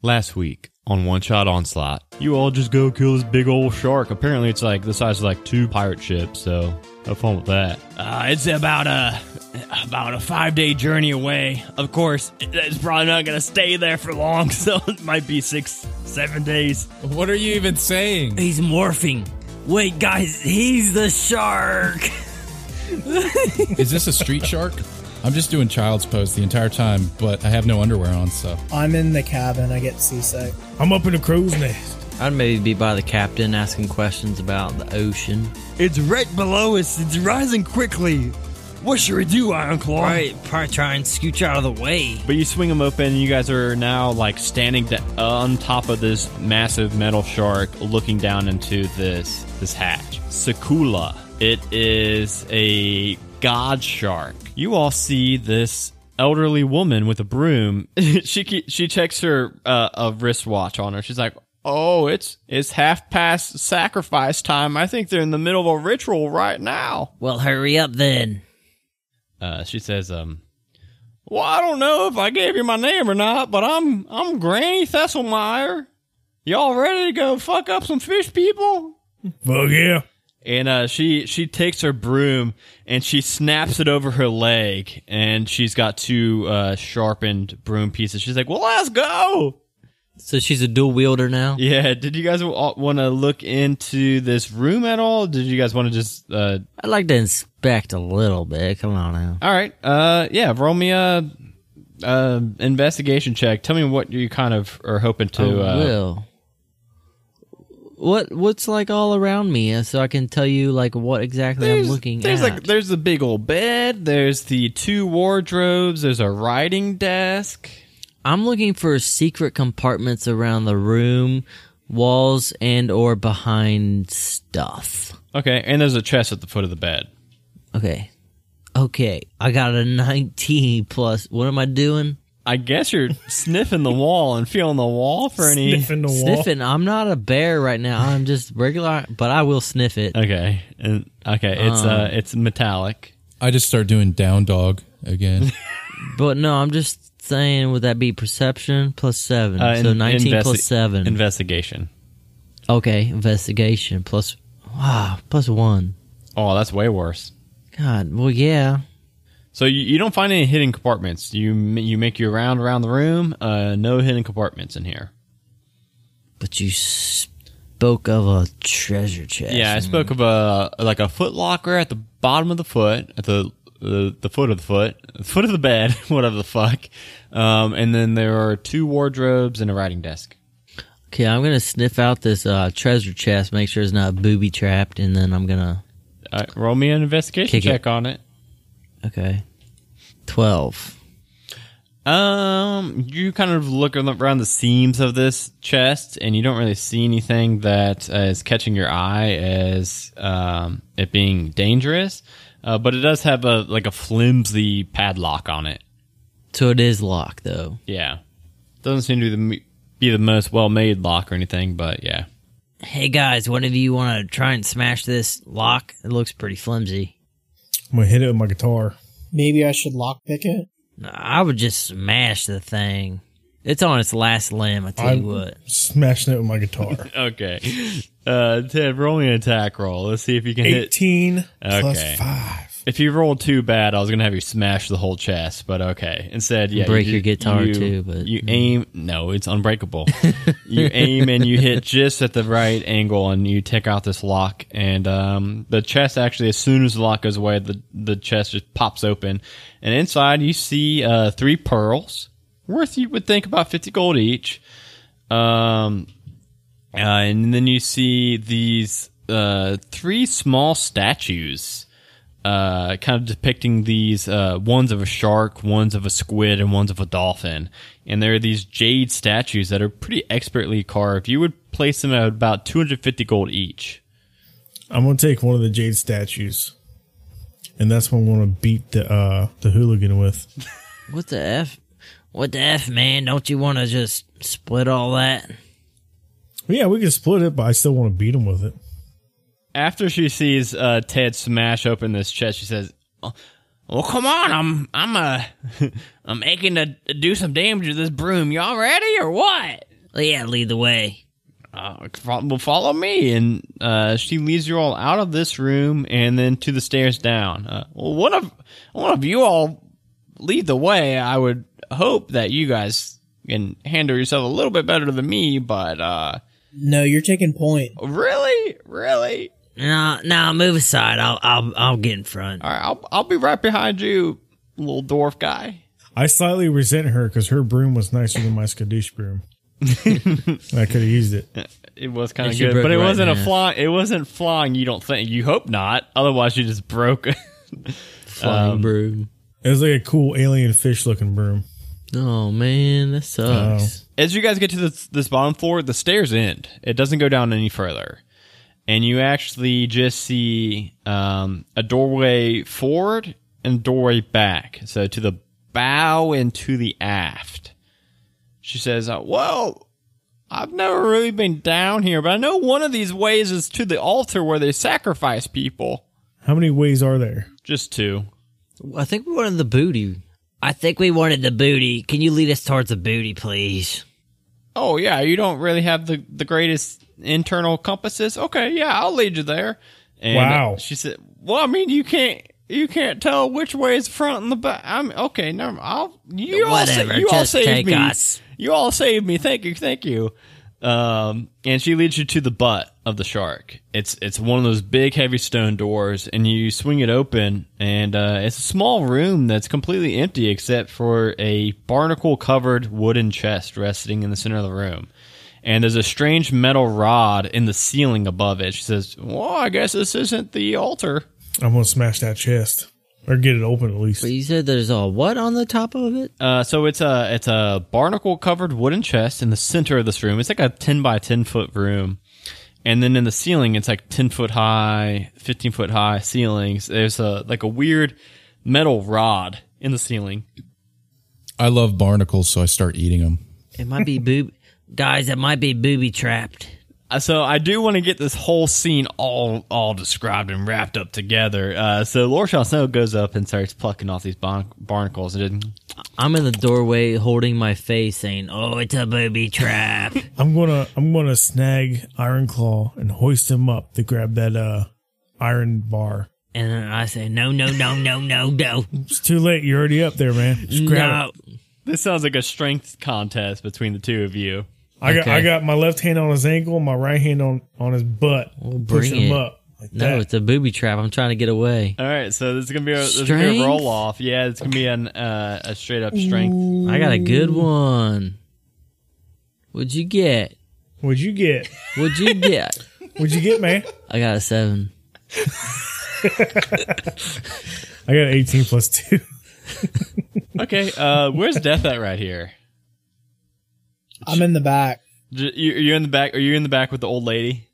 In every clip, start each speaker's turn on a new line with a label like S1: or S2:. S1: Last week on One Shot Onslaught, you all just go kill this big old shark. Apparently, it's like the size of like two pirate ships. So have fun with that.
S2: Uh, it's about a about a five day journey away. Of course, it's probably not gonna stay there for long, so it might be six, seven days.
S3: What are you even saying?
S2: He's morphing. Wait, guys, he's the shark.
S3: Is this a street shark? I'm just doing child's pose the entire time, but I have no underwear on, so.
S4: I'm in the cabin. I get seasick.
S5: I'm up in a crow's nest.
S6: I'd maybe be by the captain asking questions about the ocean.
S2: It's right below us. It's rising quickly. What should we do, Iron Claw?
S6: Probably, probably try and scooch out of the way.
S1: But you swing them open, and you guys are now like standing da- on top of this massive metal shark, looking down into this this hatch. Sakula. It is a god shark. You all see this elderly woman with a broom. she ke- she checks her uh, a wristwatch on her. She's like. Oh, it's it's half past sacrifice time. I think they're in the middle of a ritual right now.
S6: Well, hurry up then.
S1: Uh, she says, um, "Well, I don't know if I gave you my name or not, but I'm I'm Granny Thesselmeyer. Y'all ready to go fuck up some fish people?"
S5: Fuck yeah.
S1: And uh, she she takes her broom and she snaps it over her leg, and she's got two uh, sharpened broom pieces. She's like, "Well, let's go."
S6: So she's a dual wielder now?
S1: Yeah. Did you guys want to look into this room at all? Did you guys want to just uh,
S6: I'd like to inspect a little bit. Come on now.
S1: All right. Uh, yeah. Roll me a uh, investigation check. Tell me what you kind of are hoping to.
S6: I
S1: uh,
S6: will. Oh, What what's like all around me uh, so I can tell you like what exactly I'm looking
S1: there's
S6: at.
S1: like there's the big old bed. There's the two wardrobes. There's a writing desk.
S6: I'm looking for secret compartments around the room, walls and or behind stuff.
S1: Okay, and there's a chest at the foot of the bed.
S6: Okay. Okay. I got a 19 plus. What am I doing?
S1: I guess you're sniffing the wall and feeling the wall for any.
S5: Sniffing the wall.
S6: Sniffing. I'm not a bear right now. I'm just regular, but I will sniff it.
S1: Okay, and okay, it's uh, it's metallic.
S3: I just start doing down dog again.
S6: But no, I'm just saying, would that be perception plus seven?
S1: Uh,
S6: so
S1: in-
S6: 19
S1: investi-
S6: plus seven.
S1: Investigation.
S6: okay. Investigation plus, wow, plus one.
S1: Oh, that's way worse.
S6: God. Well, yeah.
S1: So you, you don't find any hidden compartments. You m- you make your round around the room. Uh, no hidden compartments in here.
S6: But you spoke of a treasure chest.
S1: Yeah, I spoke of a like a foot locker at the bottom of the foot, at the the, the foot of the foot, foot of the bed, whatever the fuck. Um, and then there are two wardrobes and a writing desk.
S6: Okay. I'm going to sniff out this uh, treasure chest, make sure it's not booby trapped, and then I'm going to,
S1: Uh, roll me an investigation
S6: Kick it.
S1: check on it.
S6: okay. 12.
S1: Um, you kind of look ar- around the seams of this chest, and you don't really see anything that uh, is catching your eye as um, it being dangerous. Uh, but it does have a like a flimsy padlock on it.
S6: So it is locked, though.
S1: Yeah, doesn't seem to be the, m- be the most well made lock or anything, but yeah.
S6: Hey guys, one of you want to try and smash this lock? It looks pretty flimsy.
S5: I'm gonna hit it with my guitar.
S4: Maybe I should lockpick it.
S6: I would just smash the thing. It's on its last limb. I tell
S5: I'm
S6: you what.
S5: smashing it with my guitar.
S1: Okay, uh, Ted, roll me an attack roll. Let's see if you can hit.
S5: 18
S1: Okay.
S5: plus 5.
S1: If you roll too bad, I was gonna have you smash the whole chest, but okay. Instead, yeah,
S6: Break
S1: you-
S6: your guitar
S1: you-
S6: too, but- mm-hmm.
S1: you aim. No, it's unbreakable. you aim and you hit just at the right angle, and you take out this lock. And um, the chest actually, as soon as the lock goes away, the the chest just pops open, and inside you see uh, three pearls worth you would think about fifty gold each. Um, uh, and then you see these uh, three small statues, uh, kind of depicting these uh, ones of a shark, ones of a squid, and ones of a dolphin. And there are these jade statues that are pretty expertly carved. You would place them at about 250 gold each.
S5: I'm gonna take one of the jade statues. And that's what I'm gonna beat the uh the hooligan with.
S6: What the f? What the f, man? Don't you want to just split all that?
S5: Yeah, we can split it, but I still wanna beat him with it.
S1: After she sees uh, Ted smash open this chest, she says, "Oh, "Well, come on, I'm I'm uh, I'm aching to do some damage with this broom. Y'all ready or what?"
S6: Yeah, lead the way.
S1: uh, fo- well, follow me. And uh, she leads you all out of this room and then to the stairs down. Uh, well, one of one of you all lead the way. I would hope that you guys can handle yourself a little bit better than me. But uh,
S4: No, you're taking point.
S1: Oh, really, really,
S6: No, no, move aside. I'll, I'll, I'll get in front.
S1: all right, I'll I'll be right behind you, little dwarf guy.
S5: I slightly resent her because her broom was nicer than my Skadoosh broom. I could have used it.
S1: It was kind
S6: And
S1: of
S6: she
S1: good,
S6: broke
S1: but it
S6: right in
S1: wasn't a
S6: half.
S1: fly. It wasn't flying. You don't think? You hope not. Otherwise, you just broke.
S6: Flying broom.
S5: It was like a cool alien fish looking broom.
S6: Oh man, that sucks.
S1: as you guys get to this, this bottom floor, the stairs end. It doesn't go down any further, and you actually just see um, a doorway forward and doorway back. So to the bow and to the aft. She says, uh, "Well, I've never really been down here, but I know one of these ways is to the altar where they sacrifice people."
S5: How many ways are there?
S1: Just two.
S6: I think we wanted the booty. I think we wanted the booty. Can you lead us towards the booty, please?
S1: Oh yeah, you don't really have the the greatest internal compasses. Okay, yeah, I'll lead you there. And
S5: Wow.
S1: She said, "Well, I mean, you can't you can't tell which way is front and the back. I'm okay. No, I'll you all sa-
S6: Whatever,
S1: you all
S6: just
S1: saved
S6: take
S1: me.
S6: us.
S1: You all saved me. Thank you, thank you." Um, and she leads you to the butt of the shark. It's it's one of those big heavy stone doors, and you swing it open, and uh, it's a small room that's completely empty except for a barnacle covered wooden chest resting in the center of the room. And there's a strange metal rod in the ceiling above it. She says, "Well, I guess this isn't the altar."
S5: I'm gonna smash that chest or get it open at least.
S6: But you said there's a what on the top of it?
S1: Uh, so it's a it's a barnacle covered wooden chest in the center of this room. It's like a ten by ten foot room, and then in the ceiling, it's like ten foot high, fifteen foot high ceilings. There's a like a weird metal rod in the ceiling.
S3: I love barnacles, so I start eating them.
S6: It might be boob. Guys, it might be booby trapped.
S1: Uh, So I do want to get this whole scene all all described and wrapped up together. Uh, so Lord Shall Snow goes up and starts plucking off these barn- barnacles, and then
S6: I'm in the doorway holding my face saying, Oh, it's a booby trap.
S5: I'm gonna I'm gonna snag Iron Claw and hoist him up to grab that uh iron bar.
S6: and then I say, No, no, no, no, no, no.
S5: It's too late. You're already up there, man. Just grab
S6: no.
S5: it.
S1: this sounds like a strength contest between the two of you.
S5: I got
S6: Okay.
S5: I got my left hand on his ankle, my right hand on on his butt. We'll
S6: bring
S5: him
S6: it.
S5: up. Like
S6: No,
S5: that.
S6: it's a booby trap. I'm trying to get away.
S1: All right, so this is gonna be a, this is gonna be a
S6: Strength?
S1: roll off. Yeah, it's gonna be an uh, a straight up strength.
S6: I got a good one. What'd you get?
S5: What'd you get?
S6: What'd you get?
S5: What'd you get, man?
S6: I got a seven.
S5: I got 18 plus two.
S1: Okay, uh, where's Death at right here?
S4: I'm in the back.
S1: J- you- You're in the back. Are you in the back with the old lady?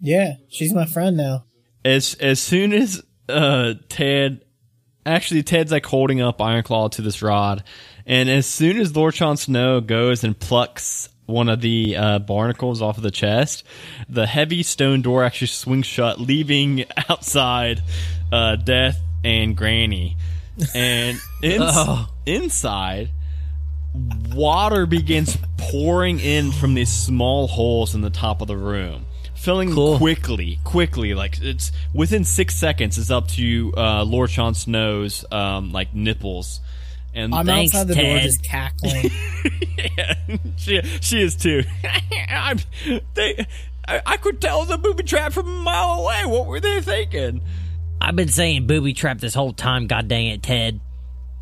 S4: Yeah, she's my friend now.
S1: As as soon as uh, Ted, actually Ted's like holding up Ironclaw to this rod, and as soon as Lord Sean Snow goes and plucks one of the uh, barnacles off of the chest, the heavy stone door actually swings shut, leaving outside uh, Death and Granny, and ins- inside. water begins pouring in from these small holes in the top of the room, filling
S6: Cool.
S1: quickly, quickly. Like it's within six seconds, it's up to uh, Lord Sean Snow's um, like nipples, and
S4: I'm
S6: Thanks,
S4: outside the door
S6: Ted.
S4: just cackling.
S1: she she is too. I'm, they, I, I could tell the booby trap from a mile away. What were they thinking?
S6: I've been saying booby trap this whole time, god dang it, Ted.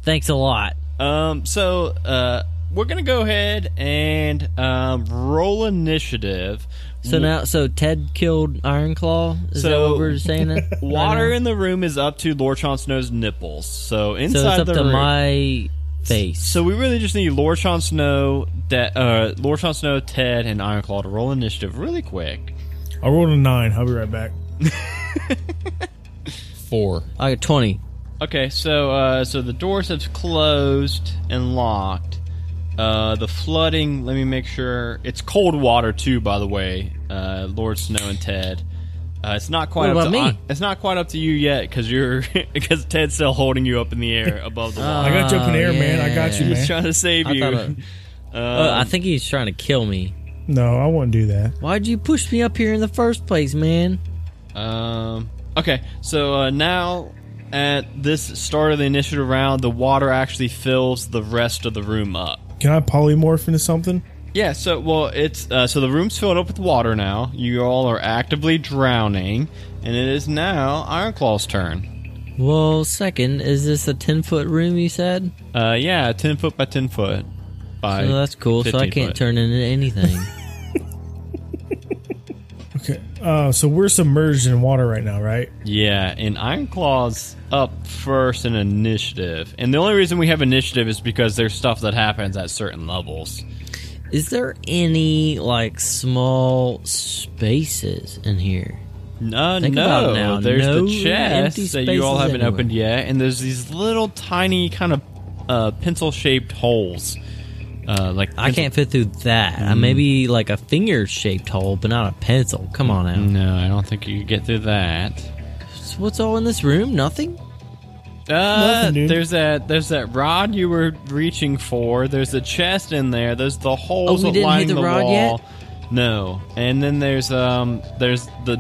S6: Thanks a lot.
S1: Um, so uh, we're gonna go ahead and um, roll initiative.
S6: So now, so Ted killed Ironclaw? Is that
S1: So-
S6: what we're saying? it- right
S1: Water
S6: now?
S1: in the room is up to Lord Sean Snow's nipples. So inside
S6: So it's up
S1: the
S6: to
S1: room.
S6: my face.
S1: so we really just need Lord Sean Snow, De- uh, Lord Sean Snow, Ted, and Ironclaw to roll initiative really quick.
S5: I rolled a nine. I'll be right back.
S3: Four.
S6: I got 20.
S1: Okay, so uh, so the doors have closed and locked. Uh, the flooding. Let me make sure it's cold water too. By the way, uh, Lord Snow and Ted. Uh, it's not quite
S6: What
S1: up
S6: about
S1: to
S6: me?
S1: it's not quite up to you yet because you're because Ted's still holding you up in the air above the
S5: I
S1: water.
S5: got you up in the air, man. I got you,
S1: He's
S5: man.
S1: trying to save
S6: Oh, I
S1: you.
S6: Uh,
S1: Um,
S6: thought I- Uh, I think he's trying to kill me.
S5: No, I wouldn't do that.
S6: Why'd you push me up here in the first place, man? uh,
S1: Um. Okay, so uh, now at this start of the initiative round, the water actually fills the rest of the room up.
S5: Can I polymorph into something?
S1: Yeah. So well, it's uh, so the room's filled up with water now. You all are actively drowning, and it is now Ironclaw's turn.
S6: Well, second, is this a 10 foot room you said?
S1: Uh, yeah, ten foot by ten foot. By
S6: Oh, that's cool. So I
S1: 15
S6: can't
S1: foot.
S6: turn into anything.
S5: Okay. Uh, so we're submerged in water right now, right?
S1: Yeah, and Ironclaw's up first in initiative, and the only reason we have initiative is because there's stuff that happens at certain levels.
S6: is there any, like, small spaces in here?
S1: No,
S6: Think
S1: no.
S6: about it now.
S1: There's
S6: No
S1: the chest
S6: empty
S1: that you all
S6: spaces
S1: haven't
S6: anywhere.
S1: opened yet, and there's these little tiny kind of uh, pencil-shaped holes. Uh, like
S6: I can't fit through that.
S1: Mm.
S6: I Maybe, like, a finger shaped hole, but not a pencil. Come on out.
S1: No, I don't think you could get through that. Mm.
S6: So what's all in this room? Nothing?
S1: Uh,
S5: Nothing, dude.
S1: there's that. There's that rod you were reaching for. There's a chest in there. There's the holes
S6: Oh, we
S1: that
S6: didn't
S1: line
S6: hit the
S1: the,
S6: rod
S1: wall. No, and then there's um, there's the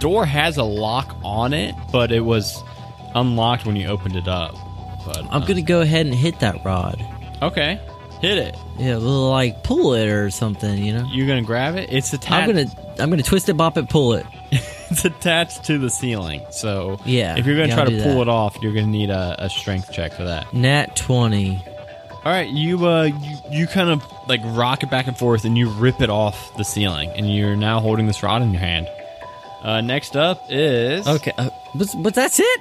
S1: door has a lock on it, but it was unlocked when you opened it up. But
S6: I'm
S1: uh,
S6: gonna go ahead and hit that rod.
S1: okay. Hit it.
S6: Yeah, we'll, like, pull it or something, you know?
S1: You gonna grab it? It's
S6: I'm
S1: attached.
S6: gonna, I'm gonna twist it, bop it, pull it.
S1: It's attached to the ceiling. So
S6: Yeah,
S1: if you're gonna
S6: yeah,
S1: try
S6: I'll
S1: to
S6: do
S1: pull
S6: that.
S1: it off, you're gonna need a, a strength check for that.
S6: Nat 20.
S1: All right, you uh, you, you kind of like rock it back and forth, and you rip it off the ceiling, and you're now holding this rod in your hand. Uh, next up is
S6: Okay, uh, but, but that's it?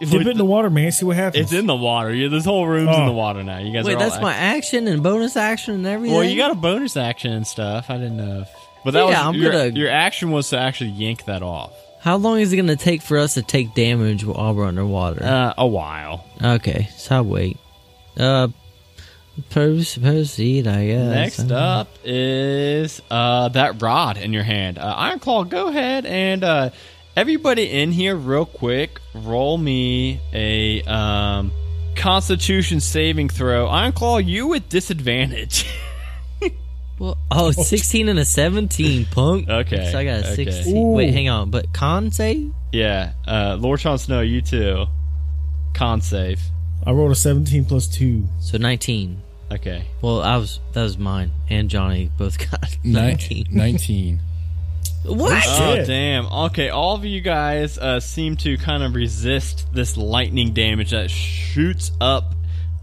S5: Dip it in the water, man. See what happens.
S1: It's in the water. You, this whole room's in
S5: Oh.
S1: the water now. You guys
S6: Wait,
S1: are all
S6: that's my action and bonus action and everything?
S1: Well, you got a bonus action and stuff. I didn't know. If, but that
S6: Yeah,
S1: was
S6: I'm
S1: your,
S6: gonna-
S1: your action was to actually yank that off.
S6: How long is it going to take for us to take damage while we're underwater?
S1: Uh, a while.
S6: okay, so I'll wait. Uh, pros- proceed, I guess. Uh,
S1: Next up is uh, that rod in your hand. Uh, Iron Claw, go ahead and uh, everybody in here, real quick, roll me a um, Constitution saving throw. Iron Claw, you with disadvantage.
S6: Well, oh, 16 and a 17, punk.
S1: Okay,
S6: So I got a
S1: okay.
S6: 16. Wait, hang on. But con save?
S1: yeah, uh, Lord Sean Snow, you too. Con save.
S5: I rolled a 17 plus 2.
S6: So 19.
S1: Okay.
S6: Well, I was that was mine and Johnny both got
S3: Nineteen.
S6: 19.
S3: Nineteen.
S6: What?
S1: Oh
S5: Shit.
S1: damn! Okay, all of you guys uh, seem to kind of resist this lightning damage that shoots up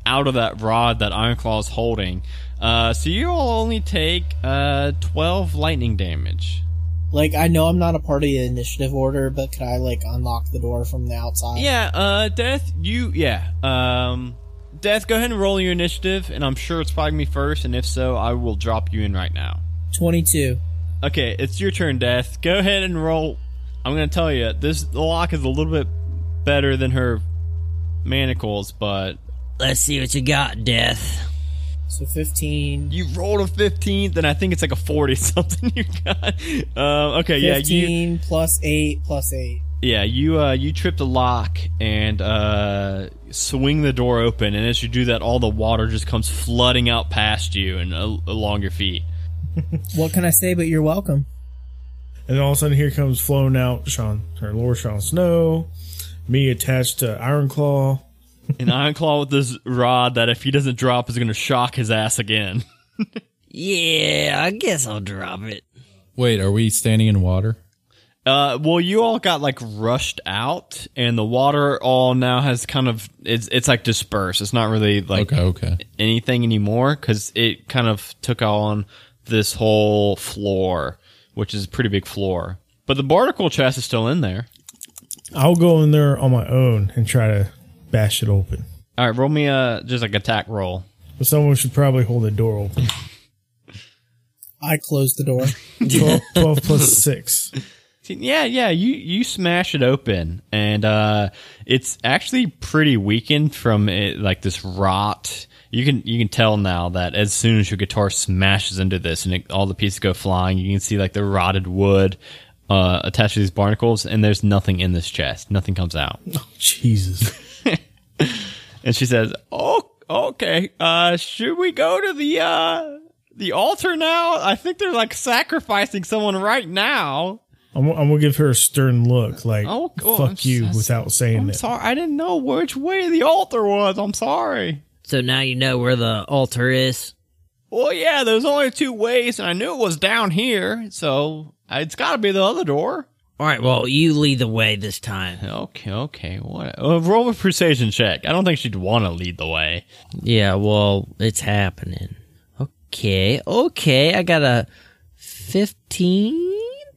S1: out of that rod that Ironclaw is holding. Uh, so you all only take uh, twelve lightning damage.
S4: Like, I know I'm not a part of the initiative order, but could I, like, unlock the door from the outside?
S1: Yeah, uh, Death, you yeah. Um, Death, go ahead and roll your initiative, and I'm sure it's probably me first. And if so, I will drop you in right now.
S4: 22.
S1: Okay, it's your turn, Death. Go ahead and roll. I'm gonna tell you, this lock is a little bit better than her manacles, but
S6: Let's see what you got, Death.
S4: So 15.
S1: you rolled a 15, then I think it's like a 40 something you got. Um, okay, yeah, you
S4: 15 plus 8 plus 8.
S1: yeah you uh, you trip the lock and uh, swing the door open, and as you do that, all the water just comes flooding out past you and uh, along your feet.
S4: What can I say but you're welcome?
S5: And all of a sudden, here comes flowing out Sean, or Lord Sean Snow, me attached to Iron Claw.
S1: And Ironclaw with this rod that if he doesn't drop is gonna shock his ass again.
S6: Yeah, I guess I'll drop it.
S3: Wait, are we standing in water?
S1: Uh, well, you all got like rushed out, and the water all now has kind of it's it's like dispersed. It's not really like
S3: Okay, okay.
S1: anything anymore because it kind of took on this whole floor, which is a pretty big floor. But the barnacle chest is still in there.
S5: I'll go in there on my own and try to bash it open.
S1: All right, roll me a just like attack roll.
S5: But someone should probably hold the door open.
S4: I closed the door.
S5: 12, 12 plus 6.
S1: Yeah, yeah, you you smash it open, and uh, it's actually pretty weakened from it, like this rot. You can you can tell now that as soon as your guitar smashes into this and it, all the pieces go flying, you can see like the rotted wood uh, attached to these barnacles, and there's nothing in this chest. Nothing comes out.
S5: Jesus.
S1: And she says, "Oh, okay. Uh, should we go to the uh, the altar now? I think they're like sacrificing someone right now.
S5: I'm, I'm gonna give her a stern look, like
S1: Oh, cool. I'm
S5: "fuck
S1: s-
S5: you"
S1: I'm s-
S5: without saying
S1: I'm
S5: it.
S1: sorry, I didn't know which way the altar was. I'm sorry.
S6: So now you know where the altar is.
S1: Well, yeah, there's only two ways, and I knew it was down here, so it's got to be the other door.
S6: All right, well, you lead the way this time.
S1: Okay, okay. What? Uh, roll a precision check. I don't think she'd want to lead the way.
S6: Yeah, well, it's happening. Okay, okay. I got a 15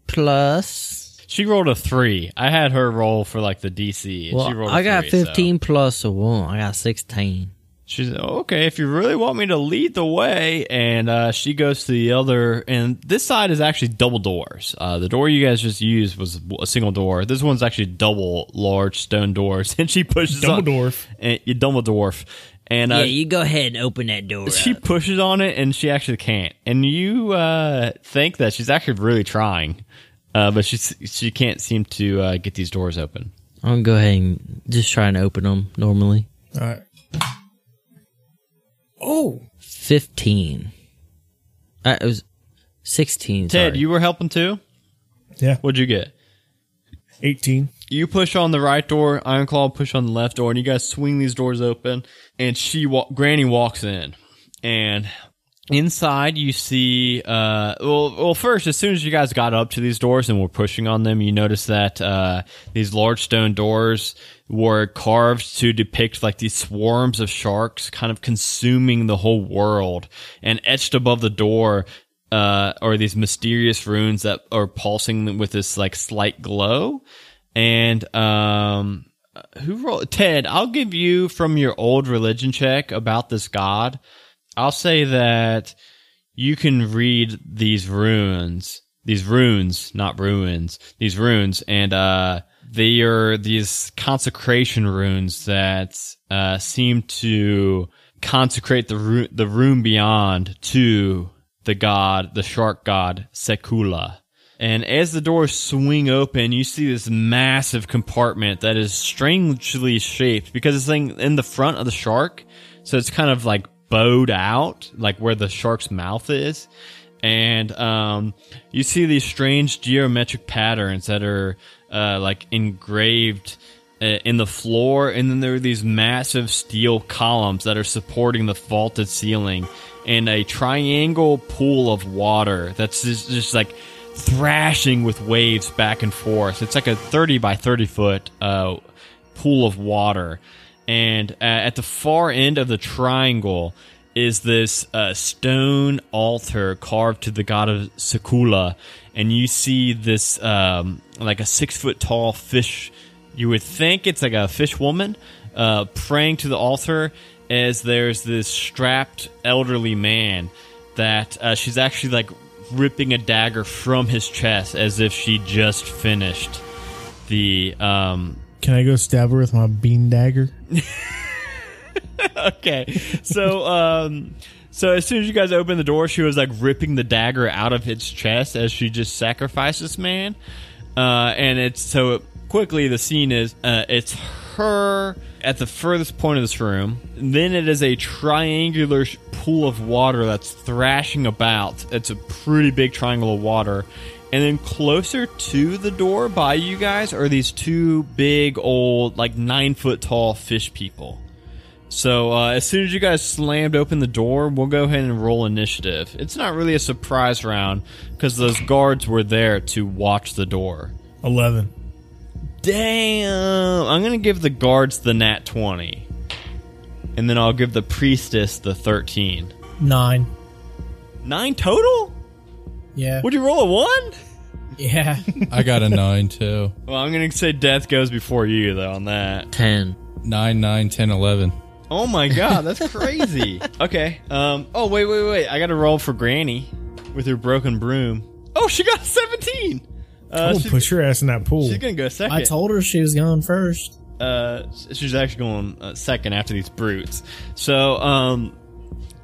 S6: plus.
S1: She rolled a three. I had her roll for like the DC. And she
S6: Well,
S1: rolled a
S6: I got
S1: three, so-
S6: 15 plus a 1. I got 16.
S1: She's okay. If you really want me to lead the way, and uh, she goes to the other, and this side is actually double doors. Uh, the door you guys just used was a single door. This one's actually double large stone doors, and she pushes on-
S5: Dumbledore.
S1: and you double dwarf, and uh,
S6: yeah, you go ahead and open that door.
S1: she
S6: up.
S1: pushes on it, and she actually can't. And you uh, think that she's actually really trying, uh, but she she can't seem to uh, get these doors open.
S6: I'm going to go ahead and just try and open them normally.
S5: All right. Oh,
S6: 15. Uh, it was 16.
S1: Ted,
S6: sorry.
S1: you were helping too.
S5: yeah,
S1: What'd you get?
S5: 18.
S1: You push on the right door, Ironclaw push on the left door, and you guys swing these doors open. And she, wa- Granny, walks in, and inside you see. Uh, well, well, first, as soon as you guys got up to these doors and were pushing on them, you notice that uh, these large stone doors were carved to depict like these swarms of sharks, kind of consuming the whole world. And etched above the door uh, are these mysterious runes that are pulsing with this like slight glow. And um, who rolled? Ted, I'll give you from your old religion check about this god. I'll say that you can read these runes, these runes, not ruins, these runes, and uh, they are these consecration runes that uh, seem to consecrate the ru- the room beyond to the god, the shark god Sekula. And as the doors swing open, you see this massive compartment that is strangely shaped because it's in, in the front of the shark. So it's kind of like bowed out, like where the shark's mouth is. And um, you see these strange geometric patterns that are uh, like engraved uh, in the floor. And then there are these massive steel columns that are supporting the vaulted ceiling and a triangle pool of water that's just, just like thrashing with waves back and forth. It's like a 30 by 30 foot uh, pool of water. And uh, at the far end of the triangle is this uh, stone altar carved to the god of Sekula. And you see this, um, like a six foot tall fish. You would think it's like a fish woman uh, praying to the altar as there's this strapped elderly man that uh, she's actually like ripping a dagger from his chest as if she just finished the um,
S5: Can I go stab her with my bean dagger?
S1: okay. So, um, so as soon as you guys open the door, she was like ripping the dagger out of its chest as she just sacrificed this man. Uh, and it's so quickly the scene is uh, it's her at the furthest point of this room. Then it is a triangular sh- pool of water that's thrashing about. It's a pretty big triangle of water. And then closer to the door by you guys are these two big old, like nine foot tall fish people. So uh, as soon as you guys slammed open the door, we'll go ahead and roll initiative. It's not really a surprise round because those guards were there to watch the door.
S5: 11.
S1: Damn! I'm gonna give the guards the nat twenty, and then I'll give the priestess the thirteen.
S4: Nine.
S1: Nine total?
S4: Yeah.
S1: Would you roll a one?
S4: Yeah.
S3: I got a nine too.
S1: Well, I'm gonna say death goes before you though on that.
S6: 10.
S3: Nine, nine, ten, eleven.
S1: Oh my god, that's crazy. okay. Um. Oh wait, wait, wait. I got to roll for Granny with her broken broom. Oh, she got a seventeen.
S5: I'm
S1: Uh,
S5: gonna
S1: she's,
S5: push her ass in that pool.
S1: she's gonna go second.
S4: I told her she was going first.
S1: uh, she's actually going uh, second after these brutes. So, um,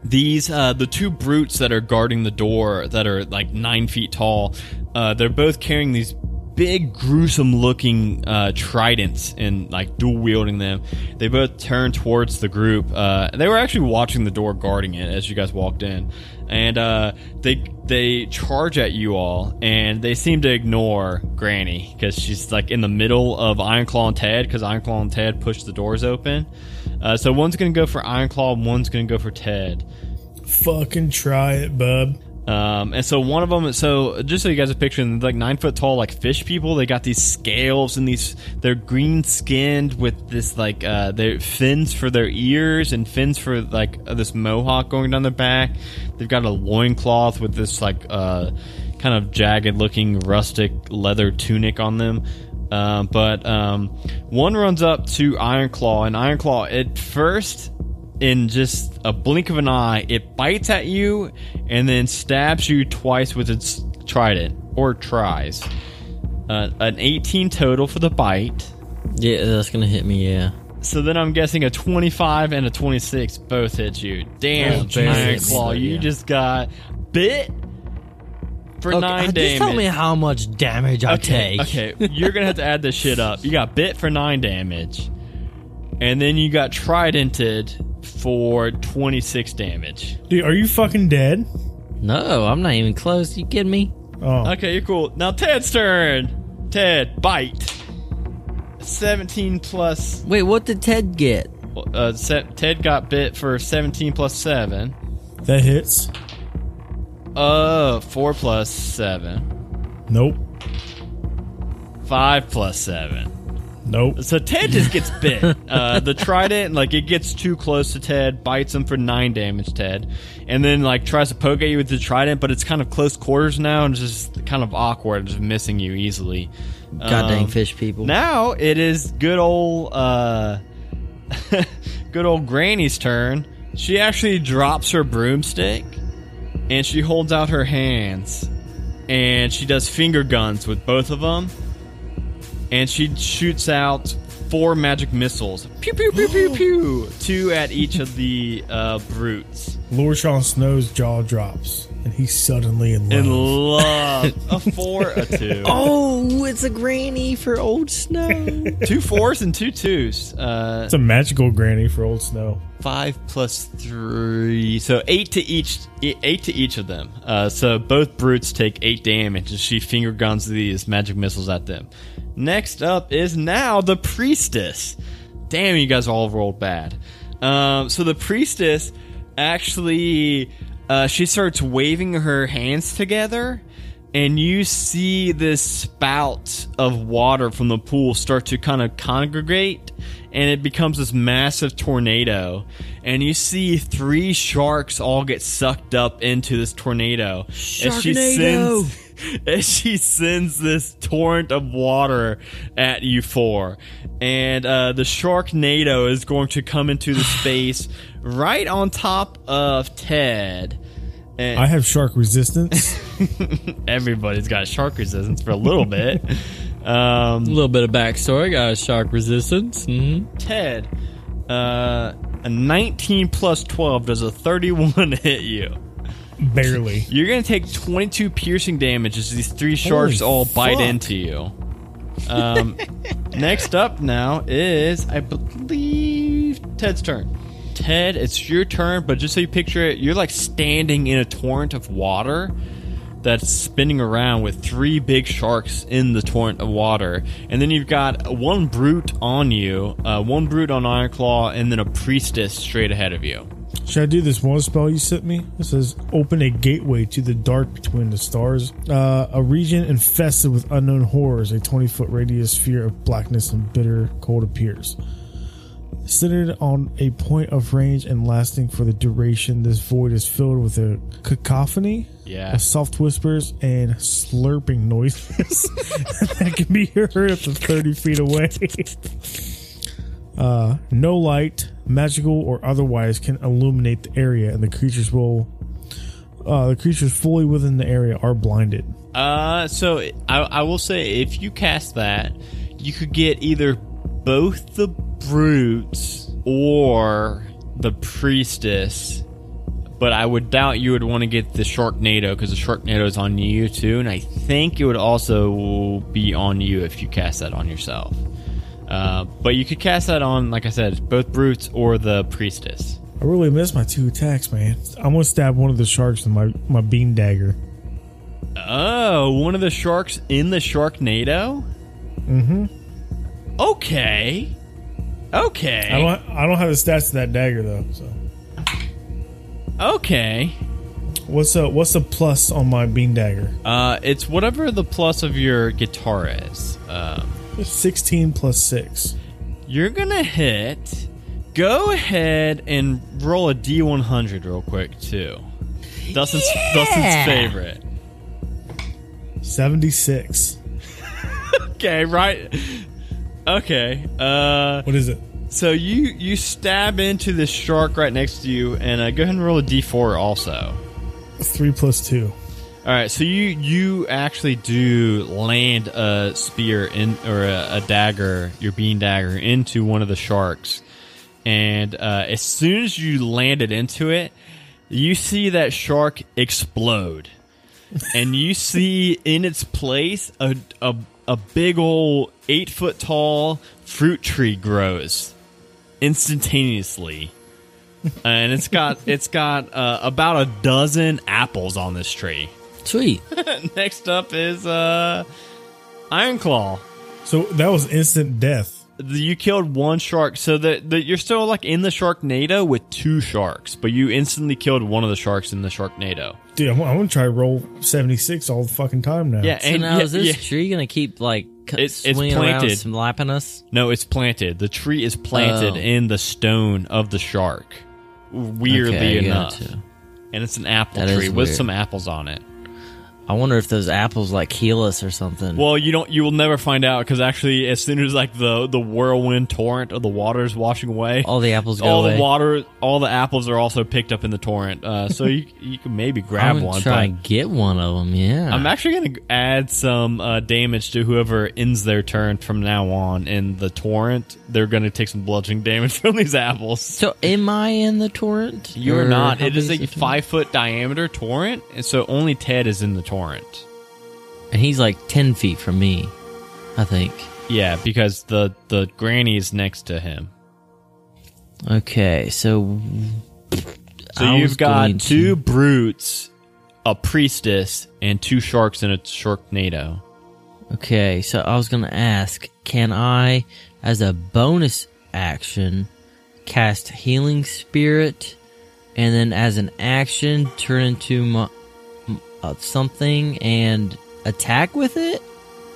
S1: these uh, the two brutes that are guarding the door that are like nine feet tall. Uh, they're both carrying these big, gruesome-looking uh, tridents and like dual-wielding them. They both turned towards the group. Uh, they were actually watching the door, guarding it as you guys walked in, and uh, they they charge at you all, and they seem to ignore Granny because she's like in the middle of Ironclaw and Ted because Ironclaw and Ted pushed the doors open. Uh, so one's gonna go for Ironclaw, and one's gonna go for Ted.
S5: Fucking try it, bub.
S1: Um, and so one of them, so just so you guys are picturing, like nine foot tall, like fish people. They got these scales and these, they're green skinned with this like uh, their fins for their ears and fins for like uh, this mohawk going down their back. They've got a loincloth with this like uh, kind of jagged looking rustic leather tunic on them. Um, but um, one runs up to Ironclaw, and Ironclaw at first in just a blink of an eye, it bites at you and then stabs you twice with its trident or tries. Uh, an 18 total for the bite.
S6: Yeah, that's gonna hit me. Yeah.
S1: So then I'm guessing a 25 and a 26 both hit you.
S6: Yeah,
S1: Damn,
S6: both hit
S1: Iron
S6: me,
S1: Claw,
S6: but
S1: you
S6: yeah.
S1: just got bit for
S6: Okay, uh,
S1: nine
S6: just
S1: damage.
S6: tell me how much damage I
S1: okay,
S6: take.
S1: okay, you're gonna have to add this shit up. You got bit for nine damage, and then you got tridented for 26 damage.
S5: Dude, are you fucking dead?
S6: No, I'm not even close. You kidding me?
S5: Oh,
S1: Okay, you're cool. Now Ted's turn. Ted, bite. 17 plus.
S6: Wait, what did Ted get?
S1: Uh, se- Ted got bit for 17 plus 7.
S5: that hits.
S1: Uh, 4 plus 7.
S5: Nope.
S1: 5 plus 7.
S5: Nope.
S1: So Ted just gets bit. uh, the trident, like, it gets too close to Ted, bites him for 9 damage, Ted. And then, like, tries to poke at you with the trident, but it's kind of close quarters now and just kind of awkward, just missing you easily.
S6: God dang
S1: Um,
S6: fish people.
S1: Now it is good old uh good old Granny's turn. She actually drops her broomstick and she holds out her hands and she does finger guns with both of them and she shoots out four magic missiles. Pew pew pew pew pew. Two at each of the uh brutes.
S5: Lord Sean Snow's jaw drops, and he's suddenly in love.
S1: In love. A four, a two.
S6: oh, it's a granny for old snow.
S1: Two fours and two twos. Uh
S5: it's a magical granny for old Snow.
S1: five plus three, so eight to each. Eight to each of them. Uh, so both brutes take eight damage, and she finger guns these magic missiles at them. Next up is now the priestess. Damn, you guys all rolled bad. Um, so the priestess actually, uh, she starts waving her hands together. And you see this spout of water from the pool start to kind of congregate and it becomes this massive tornado. And you see three sharks all get sucked up into this tornado. As she
S6: Sharknado!
S1: sends, as she sends this torrent of water at you four. And uh, the sharknado is going to come into the space right on top of Ted. And
S5: I have shark resistance.
S1: everybody's got shark resistance for a little bit. Um,
S6: A little bit of backstory. Got a shark resistance. Mm-hmm.
S1: Ted, uh, a 19 plus 12 does a 31 hit you.
S5: Barely.
S1: You're going to take 22 piercing damage as these three sharks
S5: Holy
S1: all bite
S5: fuck.
S1: into you. Um, next up now is, I believe, Ted's turn. Ted, it's your turn, but just so you picture it, you're like standing in a torrent of water that's spinning around with three big sharks in the torrent of water. And then you've got one brute on you, uh, one brute on Ironclaw, and then a priestess straight ahead of you.
S5: Should I do this one spell you sent me? It says open a gateway to the dark between the stars, uh, a region infested with unknown horrors. A twenty-foot radius sphere of blackness and bitter cold appears. Centered on a point of range and lasting for the duration, this void is filled with a cacophony
S1: Yeah.
S5: of soft whispers and slurping noises that can be heard up to 30 feet away. Uh, no light, magical or otherwise, can illuminate the area, and the creatures will. Uh, the creatures fully within the area are blinded.
S1: Uh, so I, I will say if you cast that, you could get either both the brutes or the priestess But I would doubt you would want to get the Sharknado because the Sharknado is on you too, and I think it would also be on you if you cast that on yourself. Uh, but you could cast that on, like I said, both brutes or the priestess.
S5: I really miss my two attacks, man. I'm gonna stab one of the sharks with my my beam dagger.
S1: Oh, one of the sharks in the Sharknado. Mm-hmm. Okay. Okay.
S5: I don't I don't have the stats to that dagger though. So
S1: okay.
S5: what's a what's a plus on my beam dagger?
S1: Uh, it's whatever the plus of your guitar is. Um,
S5: Sixteen plus six.
S1: you're gonna hit. Go ahead and roll a d100 real quick too. Dustin's Dustin's favorite.
S5: 76.
S1: Okay, right. Okay. Uh,
S5: What is it?
S1: so you you stab into this shark right next to you, and uh, go ahead and roll a d4 also.
S5: 3 plus 2.
S1: All right, so you you actually do land a spear in or a, a dagger, your bean dagger, into one of the sharks, and uh, as soon as you land it into it, you see that shark explode, and you see in its place a a, a big old eight foot tall fruit tree grows instantaneously and it's got it's got uh, about a dozen apples on this tree.
S6: Sweet.
S1: Next up is uh, Iron Claw.
S5: So that was instant death.
S1: You killed one shark, so that that you're still like in the Sharknado with two sharks, but you instantly killed one of the sharks in the Sharknado.
S5: Dude, I'm, I'm going to try to roll 76 all the fucking time now.
S1: Yeah,
S6: So
S1: and
S6: now
S1: yeah,
S6: is this
S1: yeah.
S6: tree gonna keep like cu-
S1: It's- it's
S6: swinging around,
S1: planted.
S6: slapping us?
S1: no, it's planted. The tree is planted
S6: Oh.
S1: in the stone of the shark. Weirdly
S6: Okay, I
S1: enough,
S6: gotcha.
S1: and it's an apple
S6: That is
S1: tree with
S6: weird.
S1: some apples on it.
S6: I wonder if those apples like heal us or something.
S1: Well, you don't. You will never find out because actually, as soon as like the the whirlwind torrent of the water is washing away,
S6: all the apples go
S1: all
S6: away.
S1: the water, all the apples are also picked up in the torrent. Uh, so you you can maybe grab
S6: I'm
S1: one.
S6: try
S1: But
S6: and get one of them. Yeah.
S1: I'm actually going to add some uh, damage to whoever ends their turn from now on in the torrent. They're going to take some bludgeoning damage from these apples.
S6: so am I in the torrent?
S1: You're
S6: Or
S1: not.
S6: how
S1: It is a
S6: big the torrent?
S1: five foot diameter torrent, and so only Ted is in the torrent.
S6: and he's like ten feet from me. I think.
S1: Yeah, because the the granny is next to him.
S6: Okay, so
S1: So
S6: I was
S1: you've
S6: going
S1: got
S6: to-
S1: two brutes, a priestess, and two sharks in a sharknado.
S6: Okay, so I was gonna ask, can I, as a bonus action, cast Healing Spirit, and then as an action, turn into my, m- uh, something and attack with it?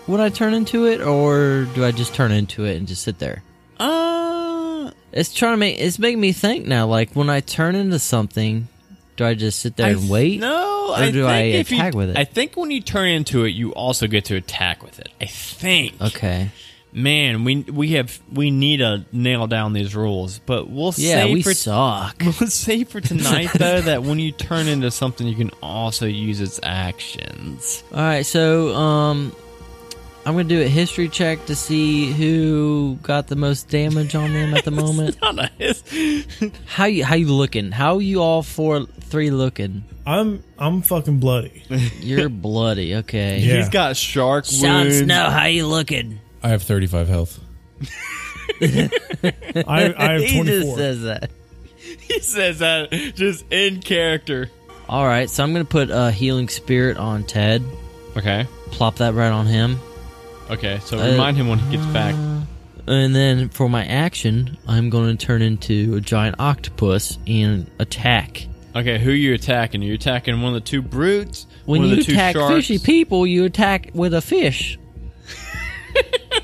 S6: Would I turn into it, or do I just turn into it and just sit there?
S1: Uh,
S6: It's trying to make it's making me think now. Like when I turn into something, do I just sit there and wait?
S1: No,
S6: Or
S1: I
S6: do
S1: think
S6: I
S1: if you-
S6: attack with it?
S1: I think when you turn into it, you also get to attack with it. I think.
S6: Okay.
S1: Man, we we have we need to nail down these rules, but we'll
S6: Yeah,
S1: say
S6: we
S1: for
S6: suck.
S1: we'll say for tonight though that when you turn into something, you can also use its actions.
S6: All right, so um, I'm gonna do a history check to see who got the most damage on them at the moment.
S1: Not a his-
S6: how you how you looking? How you all four three looking?
S5: I'm I'm fucking bloody.
S6: You're bloody. Okay.
S5: Yeah.
S1: He's got shark
S6: Jon
S1: wounds.
S6: Snow, how you looking?
S3: I have 35 health.
S5: I, I have
S6: he just
S5: 24.
S6: says that.
S1: He says that just in character.
S6: All right, so I'm gonna put a healing spirit on Ted.
S1: Okay.
S6: Plop that right on him,
S1: Okay. So
S6: Uh,
S1: remind him when he gets back.
S6: and then for my action, I'm gonna turn into a giant octopus and attack.
S1: Okay, who you attacking? You attacking one of the two brutes?
S6: When
S1: one
S6: you
S1: of the
S6: attack
S1: two sharks?
S6: fishy people, you attack with a fish.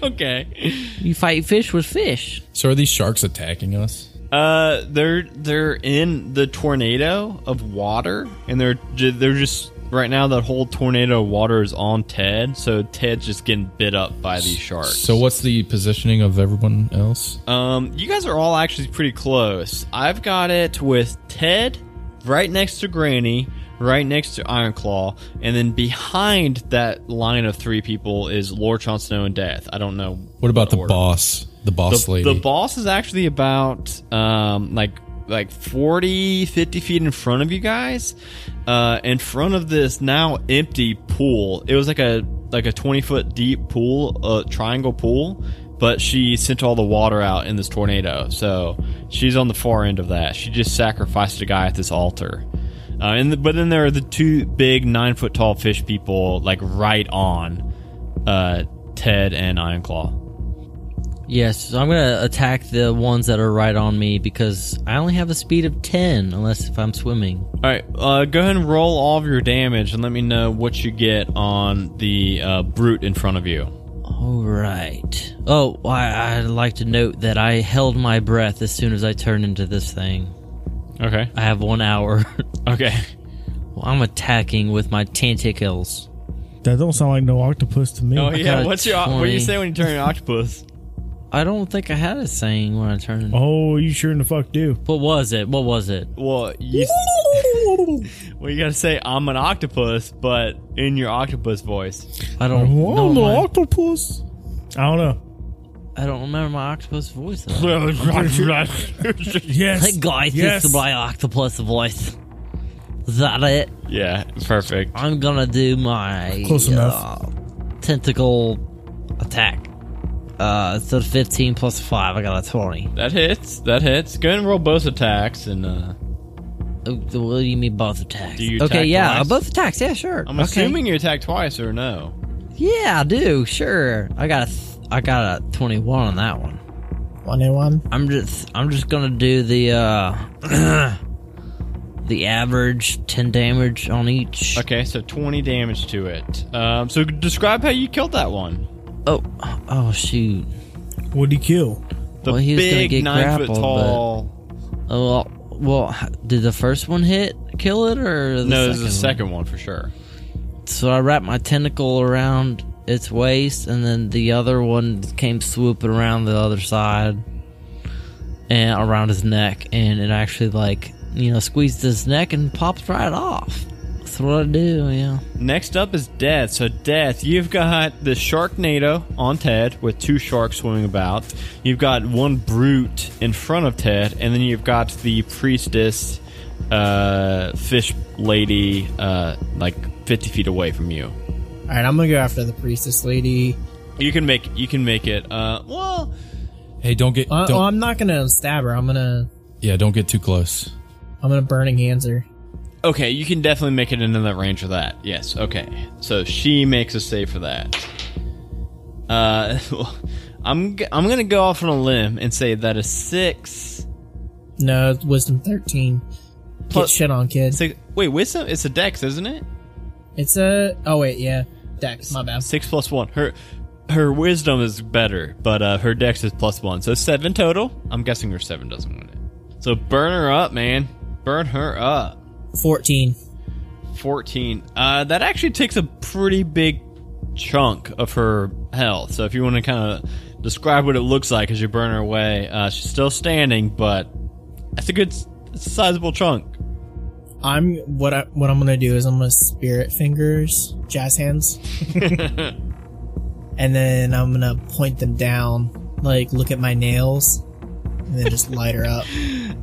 S1: Okay.
S6: You fight fish with fish.
S3: So are these sharks attacking us?
S1: Uh, they're they're in the tornado of water, and they're ju- they're just right now. That whole tornado of water is on Ted, so Ted's just getting bit up by these sharks.
S3: So what's the positioning of everyone else?
S1: um, you guys are all actually pretty close. I've got it with Ted right next to Granny, right next to Ironclaw, and then behind that line of three people is Lord Jon Snow and Death. I don't know
S3: What about the
S1: order.
S3: boss? The boss
S1: the,
S3: lady.
S1: the boss is actually about um like like 40, 50 feet in front of you guys, uh, in front of this now empty pool. It was like a like a 20 foot deep pool, a triangle pool, but she sent all the water out in this tornado. So she's on the far end of that. She just sacrificed a guy at this altar. Uh, and the, but then there are the two big nine foot tall fish people, like right on uh, Ted and Ironclaw.
S6: Yes, so I'm gonna attack the ones that are right on me because I only have a speed of ten, unless if I'm swimming.
S1: All right, uh, go ahead and roll all of your damage and let me know what you get on the uh, brute in front of you.
S6: All right. Oh, I, I'd like to note that I held my breath as soon as I turned into this thing.
S1: Okay.
S6: I have one hour.
S1: Okay.
S6: well, I'm attacking with my tentacles.
S5: That don't sound like no octopus to me.
S1: Oh yeah.
S6: got a
S1: What's your what do
S6: 20.
S1: you say when you turn an octopus?
S6: I don't think I had a saying when I turned. into
S5: Oh, you sure in the fuck do.
S6: What was it? What was it?
S1: Well, you s- well you gotta say I'm an octopus, but in your octopus voice.
S6: I don't.
S5: Whoa,
S6: know
S5: the
S6: my,
S5: Oh, octopus. I don't know.
S6: I don't remember my octopus voice. Though.
S5: Yes.
S6: Hey guys,
S5: yes.
S6: this is my octopus voice. Is that it?
S1: yeah. Perfect.
S6: I'm gonna do my
S5: Close
S6: uh,
S5: enough.
S6: tentacle attack. Uh, so 15 plus 5, I got a 20.
S1: That hits. That hits. Go ahead and roll both attacks and. uh
S6: Uh, What do you mean both attacks?
S1: Do you
S6: okay,
S1: attack
S6: yeah,
S1: twice?
S6: both attacks. Yeah, sure.
S1: I'm
S6: okay.
S1: assuming you attack twice or no.
S6: Yeah, I do. Sure. I got a th- I got a 21 on that one.
S4: One and one.
S6: I'm just I'm just gonna do the uh the average 10 damage on each.
S1: Okay, so 20 damage to it. Um, so describe how you killed that one.
S6: Oh, oh shoot.
S5: What'd he kill?
S1: The
S6: Well, he was gonna
S1: big
S6: get
S1: nine foot
S6: grappled,
S1: tall.
S6: Oh, well, well, h- did the first one hit kill it or the
S1: No,
S6: second
S1: this is the
S6: one?
S1: second one for sure.
S6: So I wrapped my tentacle around its waist, and then the other one came swooping around the other side and around his neck, and it actually like you know squeezed his neck and popped right off. That's what I do. Yeah.
S1: Next up is Death. So, Death, you've got the Sharknado on Ted with two sharks swimming about. You've got one brute in front of Ted, and then you've got the priestess, uh, fish lady, uh, like 50 feet away from you.
S4: All right, I'm gonna go after the priestess lady.
S1: You can make you can make it. Uh, well,
S3: Hey, don't get.
S4: Uh,
S3: don't,
S4: well, I'm not gonna stab her. I'm gonna
S3: yeah, don't get too close.
S4: I'm gonna burning hands her.
S1: okay, you can definitely make it into that range of that. Yes, okay. So she makes a save for that. Uh, I'm g- I'm gonna go off on a limb and say that a six.
S4: No, it's wisdom thirteen. Get
S1: Plus-
S4: shit on, kid.
S1: Six, wait, wisdom? It's a dex, isn't it?
S4: It's a oh wait, yeah, Dex. My bad.
S1: Six plus one. Her her wisdom is better, but uh, her dex is plus one, so seven total. I'm guessing her seven doesn't win it. So burn her up, man. Burn her up.
S4: Fourteen.
S1: Fourteen. Uh, that actually takes a pretty big chunk of her health. So if you want to kind of describe what it looks like as you burn her away, uh, she's still standing, but that's a good, s- sizable chunk.
S4: I'm what I what I'm gonna do is I'm gonna spirit fingers, jazz hands, and then I'm gonna point them down. Like look at my nails, and then just light her up.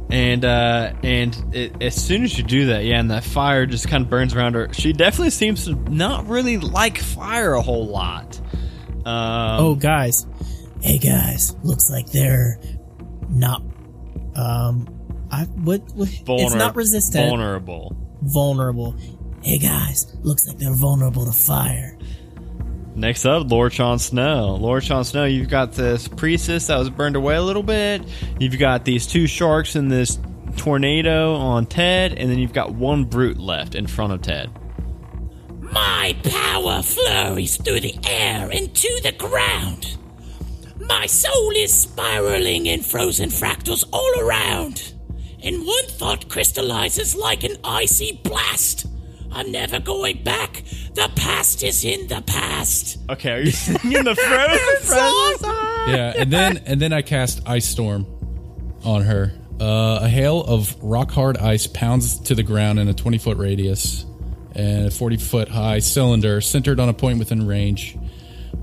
S1: And uh, and it, as soon as you do that, yeah, and that fire just kind of burns around her. She definitely seems to not really like fire a whole lot. Um,
S4: Oh guys, hey guys, looks like they're not. Um, I what, what Oh, it's
S1: vulner-
S4: not resistant,
S1: Vulnerable.
S4: vulnerable. Hey guys, looks like they're vulnerable to fire.
S1: Next up, Lord Sean Snow. Lord Sean Snow, you've got this priestess that was burned away a little bit. You've got these two sharks in this tornado on Ted, and then you've got one brute left in front of Ted.
S7: My power flurries through the air and to the ground. My soul is spiraling in frozen fractals all around. And one thought crystallizes like an icy blast. I'm never going back. The past is in the past.
S1: Okay, are you singing the Frozen song?
S3: Yeah, and then and then I cast Ice Storm on her. Uh, a hail of rock hard ice pounds to the ground in a 20 foot radius and a 40 foot high cylinder centered on a point within range.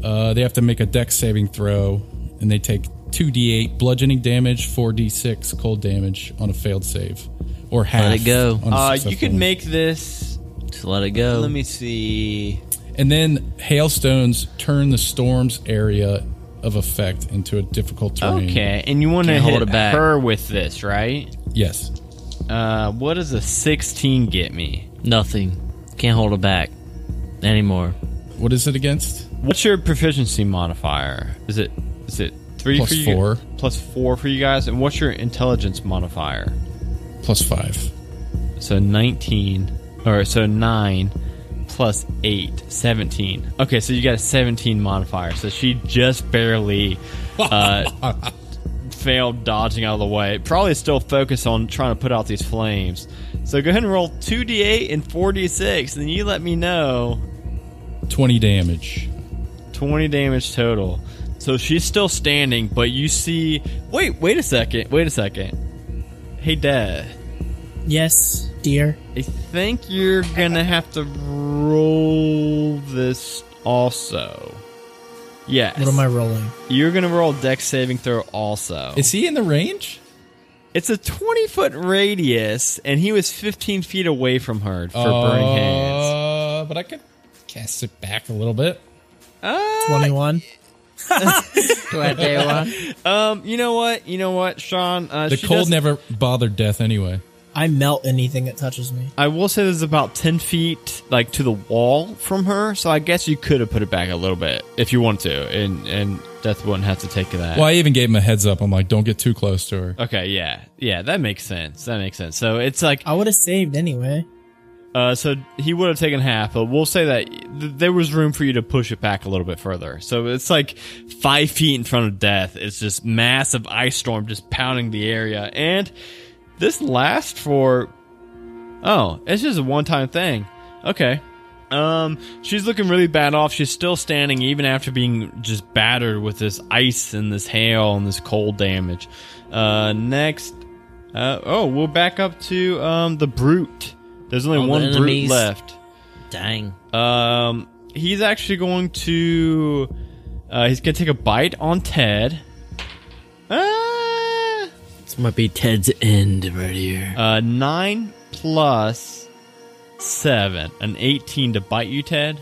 S3: Uh, they have to make a deck saving throw and they take 2d8 bludgeoning damage, 4d6 cold damage on a failed save, or half.
S6: it go.
S3: on a
S1: Uh, you
S3: successful
S1: could
S3: one.
S1: make this.
S6: Just let it go.
S1: Let me see.
S3: And then hailstones turn the storm's area of effect into a difficult terrain.
S1: Okay, and you want to
S6: Can't
S1: hit
S6: hold it back.
S1: her with this, right?
S3: Yes.
S1: Uh, what does a sixteen get me?
S6: Nothing. Can't hold it back anymore.
S3: What is it against?
S1: What's your proficiency modifier? Is it is it three
S3: Plus
S1: for you?
S3: four.
S1: Plus four for you guys. And what's your intelligence modifier?
S3: Plus five.
S1: So nineteen, or so nine, plus eight, 17. Okay, so you got a seventeen modifier. So she just barely uh, failed dodging out of the way. Probably still focused on trying to put out these flames. So go ahead and roll two d eight and four d six, and you let me know
S3: 20 damage.
S1: 20 damage total. So she's still standing, but you see. Wait, wait a second. Wait a second. Hey, Dad.
S4: Yes, dear.
S1: I think you're gonna have to roll this also. Yes.
S4: What am I rolling?
S1: You're gonna roll deck saving throw also.
S3: Is he in the range?
S1: It's a 20 foot radius, and he was 15 feet away from her for
S4: Uh,
S1: burning hands.
S3: Uh, but I could cast it back a little bit.
S4: Twenty-one.
S1: Um, you know what? You know what, Sean? Uh,
S3: The
S1: she
S3: cold
S1: does-
S3: never bothered death anyway.
S4: I melt anything that touches me.
S1: I will say there's about 10 feet like to the wall from her, so I guess you could have put it back a little bit if you wanted to, and and Death wouldn't have to take that.
S3: Well, I even gave him a heads up. I'm like, don't get too close to her.
S1: Okay, yeah. Yeah, that makes sense. That makes sense. So it's like
S4: I would have saved anyway.
S1: uh so he would have taken half, but we'll say that th- there was room for you to push it back a little bit further. So it's like 5 feet in front of Death. It's just massive ice storm just pounding the area and this lasts for Oh, it's just a one time thing. Okay. Um, she's looking really bad off. She's still standing even after being just battered with this ice and this hail and this cold damage. Uh, next, uh, oh, we're back up to um the brute. There's only
S6: All the
S1: one brute
S6: enemies.
S1: left.
S6: Dang.
S1: Um, he's actually going to, uh, he's gonna take a bite on Ted. Ah!
S6: This might be Ted's end right here.
S1: Uh, nine plus seven, an eighteen to bite you, Ted.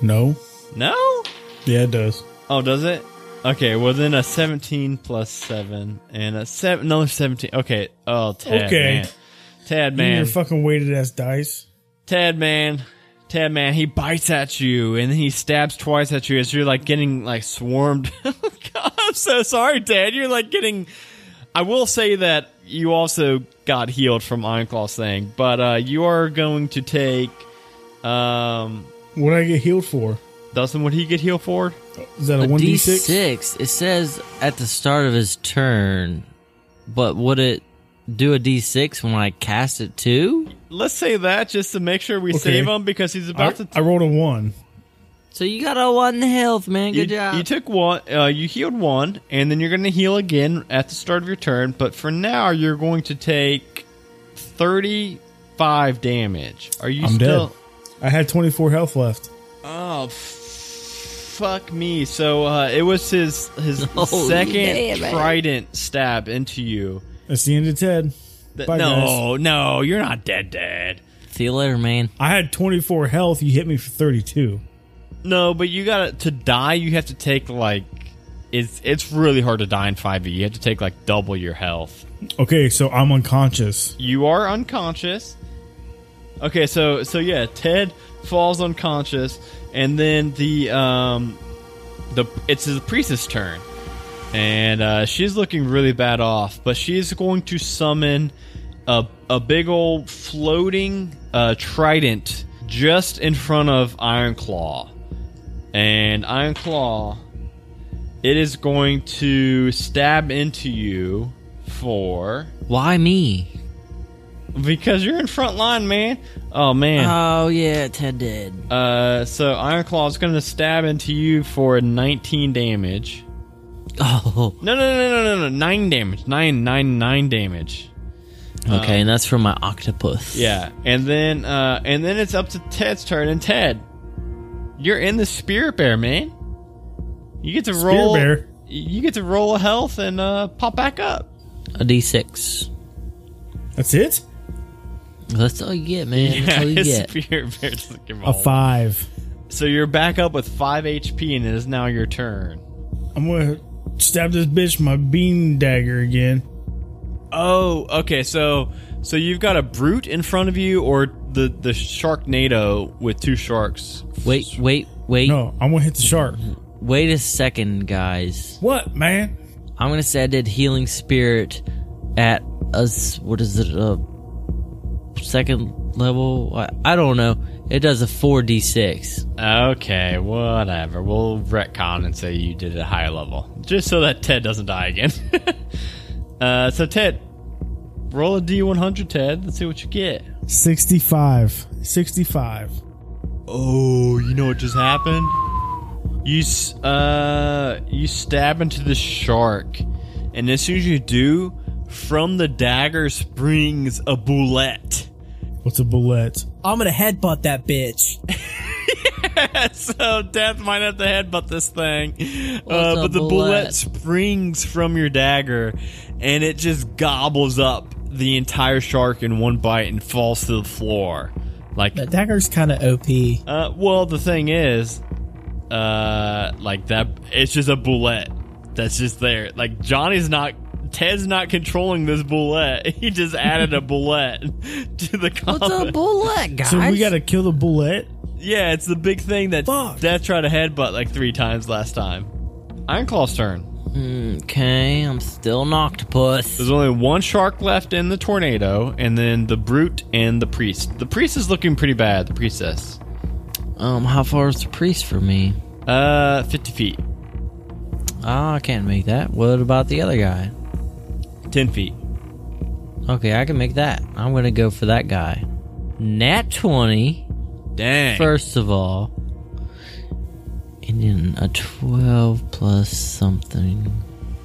S5: No.
S1: No?
S5: Yeah, it does.
S1: Oh, does it? Okay, well then a seventeen plus seven and a seven, another seventeen. Okay. Oh, Ted.
S5: Okay.
S1: Man. Ted,
S5: Man.
S1: man.
S5: Your fucking weighted ass dice.
S1: Ted, man. Ted, man. He bites at you and then he stabs twice at you as you're like getting like swarmed. God, I'm so sorry, Ted. You're like getting. I will say that you also got healed from Ironclaw's thing, but uh, you are going to take. Um,
S5: What I get healed for?
S1: Dustin, would he get healed for?
S5: Is that a
S6: A
S5: one d six?
S6: D6. It says at the start of his turn, but would it do a D6 when I cast it too?
S1: Let's say that just to make sure we
S5: Okay.
S1: save him because he's
S5: I,
S1: about to.
S5: I rolled a one.
S6: So you got a one health, man.
S1: you,
S6: Good job.
S1: you took one, uh, you healed one, and then you're going to heal again at the start of your turn. But for now, you're going to take 35 damage. Are you
S5: I'm
S1: still?
S5: dead. I had twenty four health left.
S1: Oh, f- fuck me! So uh, it was his his
S6: Holy
S1: second
S6: damn, man.
S1: trident stab into you.
S5: That's the end of Ted.
S1: Th-
S5: Bye, guys.
S1: no, no, you're not dead, dead.
S6: See you later, man.
S5: I had twenty four health. You hit me for thirty two.
S1: No, but you gotta to die. You have to take like it's it's really hard to die in five e. You have to take like double your health.
S5: Okay, so I'm unconscious.
S1: You are unconscious. Okay, so so yeah, Ted falls unconscious, and then the um the it's the priestess' turn, and uh, she's looking really bad off, but she's going to summon a a big old floating uh, trident just in front of Iron Claw, and Iron Claw, it is going to stab into you for
S6: Why me?
S1: because you're in front line, man. Oh man.
S6: Oh yeah, Ted did.
S1: Uh, so Iron Claw's gonna stab into you for 19 damage.
S6: Oh,
S1: No, no, no, no, no, no. Nine damage. Nine, nine, nine damage.
S5: Um,
S6: okay, and that's from my octopus.
S1: Yeah, and then uh, and then it's up to Ted's turn, and Ted, you're in the Spirit Bear, man. You get to
S5: Spear
S1: roll.
S5: bear?
S1: you get to roll a health and uh, pop back up.
S6: A d6.
S5: That's it?
S6: That's all you get, man. That's all you
S1: His
S6: get.
S1: spear bear doesn't give
S5: A
S1: all-
S5: five.
S1: So you're back up with five HP, and it is now your turn.
S5: I'm gonna stab this bitch with my bean dagger again.
S1: Oh, okay. So, so you've got a brute in front of you, or the the Sharknado with two sharks.
S6: Wait, wait, wait,
S5: No, I'm gonna hit the shark.
S6: wait a second, guys.
S5: What, man?
S6: I'm gonna say I did healing spirit at us. What is it? A second level? I, I don't know. It does a four d six.
S1: Okay, whatever. We'll retcon and say you did it at a higher level, just so that Ted doesn't die again. uh, so Ted, roll a D100, Ted. Let's see what you get.
S5: 65. 65.
S1: Oh, you know what just happened? You s- uh, you stab into the shark, and as soon as you do, from the dagger springs a bullet.
S5: What's a bullet?
S4: I'm gonna headbutt that bitch.
S1: so death might have to headbutt this thing. Uh,
S6: What's a
S1: but the bullet?
S6: bullet?
S1: springs from your dagger and it just gobbles up the entire shark in one bite and falls to the floor. Like,
S4: That dagger's kind of OP.
S1: uh, well, the thing is, uh, like that, it's just a bullet that's just there. Like, Johnny's not. Ted's not controlling this bullet. He just added a bullet to the combat.
S6: What's a bullet, guys?
S5: So we gotta kill the bullet?
S1: Yeah, it's the big thing that
S5: Fuck.
S1: Death tried to headbutt like three times last time. Ironclaw's turn.
S6: Okay, I'm still an octopus.
S1: There's only one shark left in the tornado, and then the brute and the priest. The priest is looking pretty bad. The priestess,
S6: Um, how far is the priest from me?
S1: uh, 50 feet,
S6: Ah, I can't make that. What about the other guy?
S1: 10 feet.
S6: Okay, I can make that. I'm gonna go for that guy. Nat twenty.
S1: Dang.
S6: First of all, and then a 12 plus something.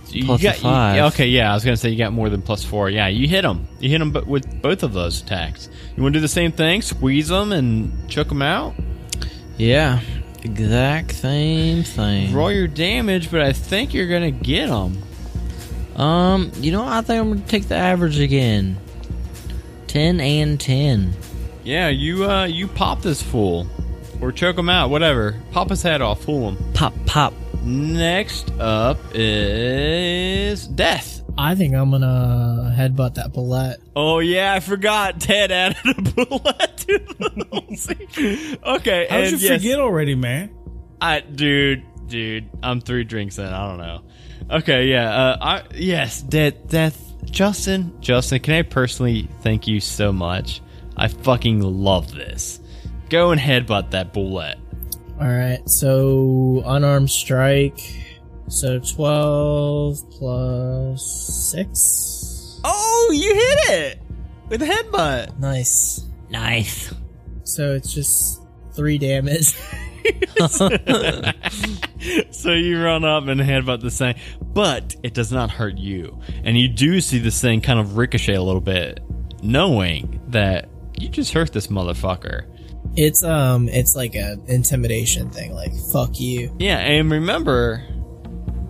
S1: You
S6: plus a
S1: got- you-
S6: five.
S1: yeah, okay, yeah, I was gonna say you got more than plus four. Yeah, you hit him. You hit him, but with both of those attacks. You want to do the same thing? Squeeze them and choke them out.
S6: Yeah, exact same thing.
S1: Roll your damage, but I think you're gonna get him.
S6: Um, you know, I think I'm gonna take the average again. 10 and 10.
S1: Yeah, you uh you pop this fool. Or choke him out, whatever. Pop his head off, fool him.
S6: Pop, pop.
S1: Next up is death.
S4: I think I'm gonna headbutt that bullet.
S1: Oh yeah, I forgot. Ted added a bullet to the whole scene. Okay,
S5: How did you
S1: and yes,
S5: forget already, man?
S1: I dude, dude, I'm three drinks in. I don't know. Okay, yeah, uh, I yes, death, death, Justin, Justin. Can I personally thank you so much? I fucking love this. Go and headbutt that bullet.
S4: Alright, so unarmed strike. So 12 plus 6.
S1: Oh, you hit it with a headbutt.
S4: Nice.
S6: Nice.
S4: So it's just 3 damage.
S1: So you run up and headbutt this thing, but it does not hurt you. And you do see this thing kind of ricochet a little bit, knowing that you just hurt this motherfucker.
S4: It's um it's like a intimidation thing like fuck you.
S1: Yeah, and remember,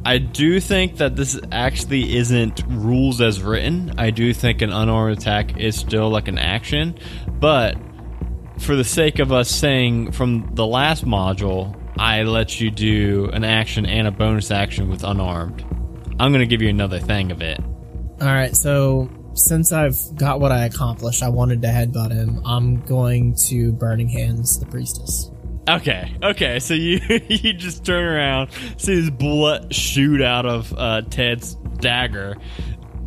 S1: I do think that this actually isn't rules as written. I do think an unarmed attack is still like an action, but for the sake of us saying from the last module, I let you do an action and a bonus action with unarmed. I'm going to give you another thing of it.
S4: All right, so since I've got what I accomplished, I wanted to headbutt him. I'm going to burning hands the priestess.
S1: Okay, okay. So you you just turn around, see this blood shoot out of uh, Ted's dagger,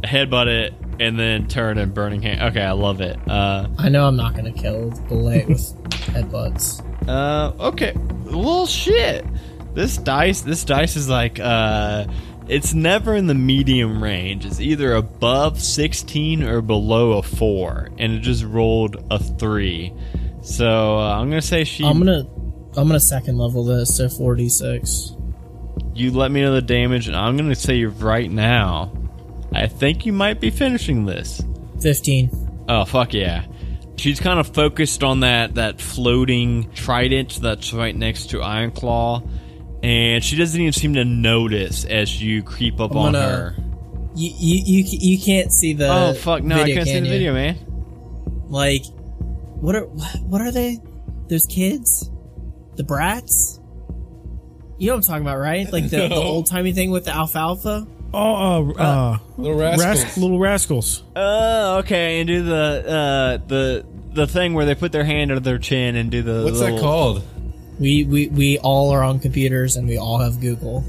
S1: headbutt it, and then turn and burning hand. Okay, I love it. Uh,
S4: I know I'm not gonna kill the bullet with headbutts.
S1: uh, okay. Well, shit. This dice, this dice is like, uh, it's never in the medium range. It's either above sixteen or below a four, and it just rolled a three. So uh, I'm gonna say she.
S4: I'm gonna I'm gonna second level this to 46.
S1: you let me know the damage, and I'm gonna say right now, I think you might be finishing this.
S4: 15.
S1: Oh fuck yeah! She's kind of focused on that that floating trident that's right next to Ironclaw, and she doesn't even seem to notice as you creep up on
S4: gonna-
S1: her.
S4: You you you, you can't see the
S1: Oh fuck! No, I
S4: video,
S1: can't see
S4: can
S1: the
S4: you?
S1: video, man.
S4: Like, what are what are they? Those kids, the brats. You know what I'm talking about, right? Like the, the
S3: No.
S4: old timey thing with the alfalfa.
S5: Oh, uh, uh,
S3: Little
S5: rascals.
S3: rascals.
S5: little rascals.
S1: Oh, okay. And do the uh, the the thing where they put their hand under their chin and do the
S3: What's
S1: little,
S3: that called?
S4: We, we we all are on computers and we all have Google.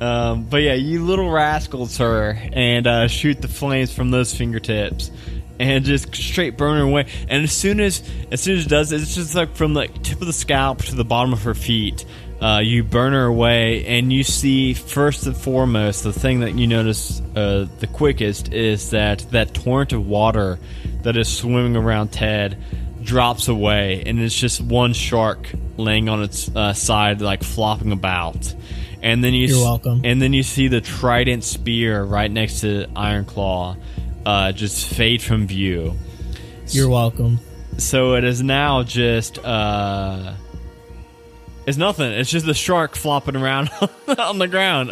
S1: Um, but yeah, you little rascals her and uh, shoot the flames from those fingertips and just straight burn her away. And as soon as as soon as it does, it's just like from the tip of the scalp to the bottom of her feet. Uh, you burn her away, and you see first and foremost the thing that you notice uh, the quickest is that that torrent of water that is swimming around Ted drops away, and it's just one shark laying on its uh, side, like flopping about. And then you
S4: You're
S1: s-
S4: welcome.
S1: And then you see the trident spear right next to Iron Claw, uh, just fade from view.
S4: You're welcome.
S1: So it is now just uh, it's nothing. It's just the shark flopping around on the ground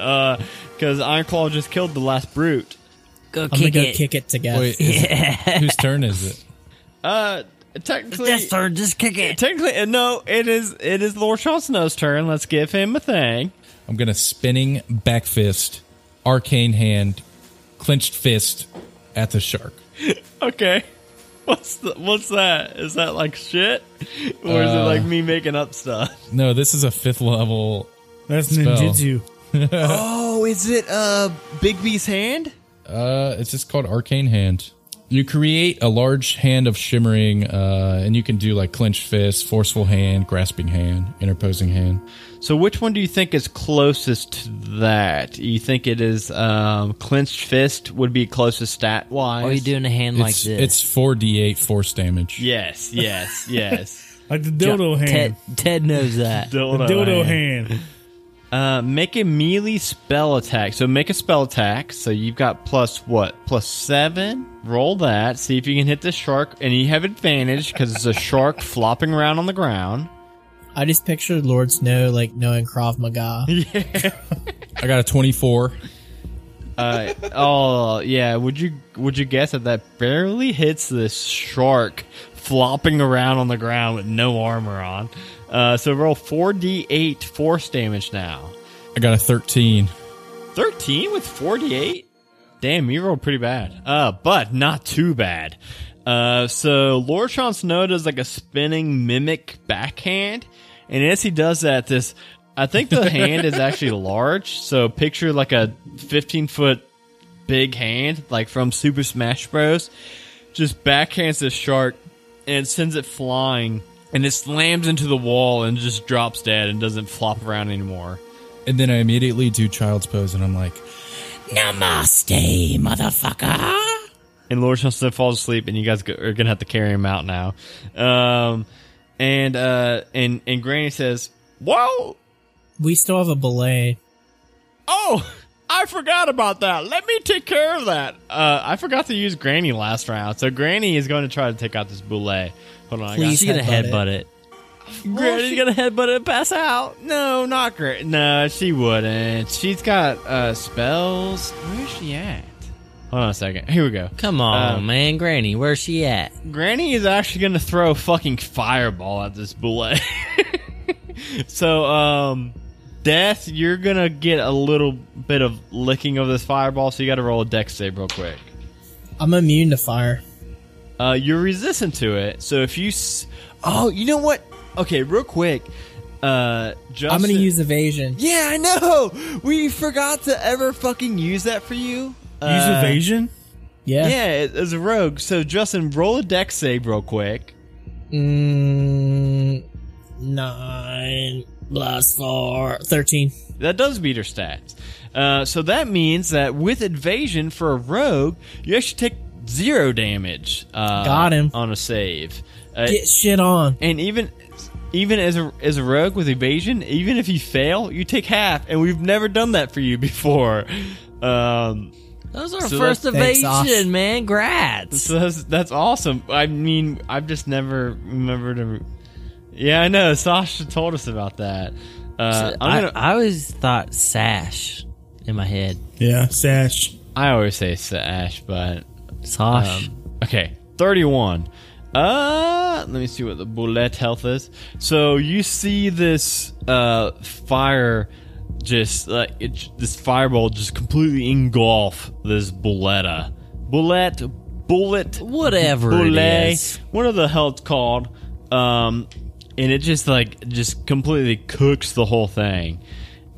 S1: because Iron Claw just killed the last brute.
S6: Go
S4: I'm
S6: kick
S4: gonna go
S6: it.
S4: kick it to death.
S3: Wait, is it- whose turn is it?
S1: Uh, technically,
S6: That's turn. Just kick it.
S1: technically, uh, no. It is it is Lord Chauncenot's turn. Let's give him a thing.
S3: I'm gonna spinning back fist, arcane hand, clenched fist at the shark.
S1: Okay. What's the, what's that? Is that like shit, or is it
S3: Uh,
S1: like me making up stuff?
S3: No, this is a fifth level.
S5: That's
S3: Spell.
S5: ninjutsu.
S1: Oh, is it uh Bigby's hand?
S3: Uh, it's just called arcane hand. You create a large hand of shimmering, uh, and you can do like clenched fist, forceful hand, grasping hand, interposing hand.
S1: So which one do you think is closest to that? You think it is um clenched fist would be closest stat wise?
S6: Why are Oh, you doing a hand like
S3: it's,
S6: this?
S3: It's four d eight force damage.
S1: Yes, yes, yes.
S5: Like the dildo hand.
S6: Ted, Ted knows that.
S5: The
S1: Dildo,
S5: dildo hand.
S1: Uh, make a melee spell attack. So make a spell attack. So you've got plus what? Plus seven. Roll that. See if you can hit this shark, and you have advantage because it's a shark flopping around on the ground.
S4: I just pictured Lord Snow like knowing Krav Maga.
S3: I got a twenty four.
S1: Uh, oh yeah, would you would you guess that that barely hits this shark flopping around on the ground with no armor on? Uh, so roll four d eight force damage now.
S3: I got a thirteen.
S1: Thirteen with four d eight. Damn, you rolled pretty bad. Uh, but not too bad. Uh, so Lord Sean Snow does like a spinning mimic backhand, and as he does that, this I think the hand is actually large. So picture like a fifteen foot big hand, like from Super Smash Bros. Just backhands the shark and sends it flying, and it slams into the wall and just drops dead and doesn't flop around anymore.
S3: And then I immediately do child's pose, and I'm like,
S7: Namaste, motherfucker.
S1: and Lord Johnson falls asleep, and you guys go- are gonna have to carry him out now. Um, and uh, and and Granny says, "Whoa,
S4: We still have a belay.
S1: oh, I forgot about that. Let me take care of that. Uh, I forgot to use Granny last round, so Granny is going to try to take out this boule. Hold on, I got
S4: Please
S6: She's gonna
S4: headbutt
S6: headbutt it.
S1: Granny's gonna headbutt it and pass out. No, not Granny. No, she wouldn't. She's got uh spells. Where's she at? Hold on a second. Here we go.
S6: Come on,
S1: Um,
S6: man, Granny, where's she at?
S1: Granny is actually going to throw a fucking fireball at this bullet. so, um, Death, you're going to get a little bit of licking of this fireball, so you got to roll a dex save real quick.
S4: I'm immune to fire.
S1: Uh, you're resistant to it, so if you. S- oh, you know what? Okay, real quick. Uh, Justin-
S4: I'm gonna use evasion.
S1: Yeah, I know! We forgot to ever fucking use that for you. Uh,
S5: Use evasion.
S4: Yeah.
S1: Yeah, as a rogue. So, Justin, roll a dex save real quick.
S4: Mm, nine plus four. Thirteen.
S1: That does beat her stats. Uh, so that means that with evasion for a rogue, you actually take zero damage. Uh,
S4: Got him.
S1: on a save, uh,
S4: Get shit on.
S1: and even even as a as a rogue with evasion, even if you fail, you take half. And we've never done that for you before. Um,
S6: That was our
S1: So
S6: first
S4: that's- Thanks, Osh.
S6: evasion, man. Grats.
S1: so that's that's awesome. I mean, I've just never remembered. A, yeah, I know. Sasha told us about that. Uh,
S6: I,
S1: I'm gonna,
S6: I always thought sash in my head.
S5: Yeah, sash.
S1: I always say Sash, but
S6: Sash.
S1: Um, Okay, 31. Uh, let me see what the bullet health is. So you see this uh fire just like it, this fireball just completely engulf this bulletta. Bullet bullet
S6: Whatever it
S1: bullet
S6: is.
S1: what the hell it's called um and it just like just completely cooks the whole thing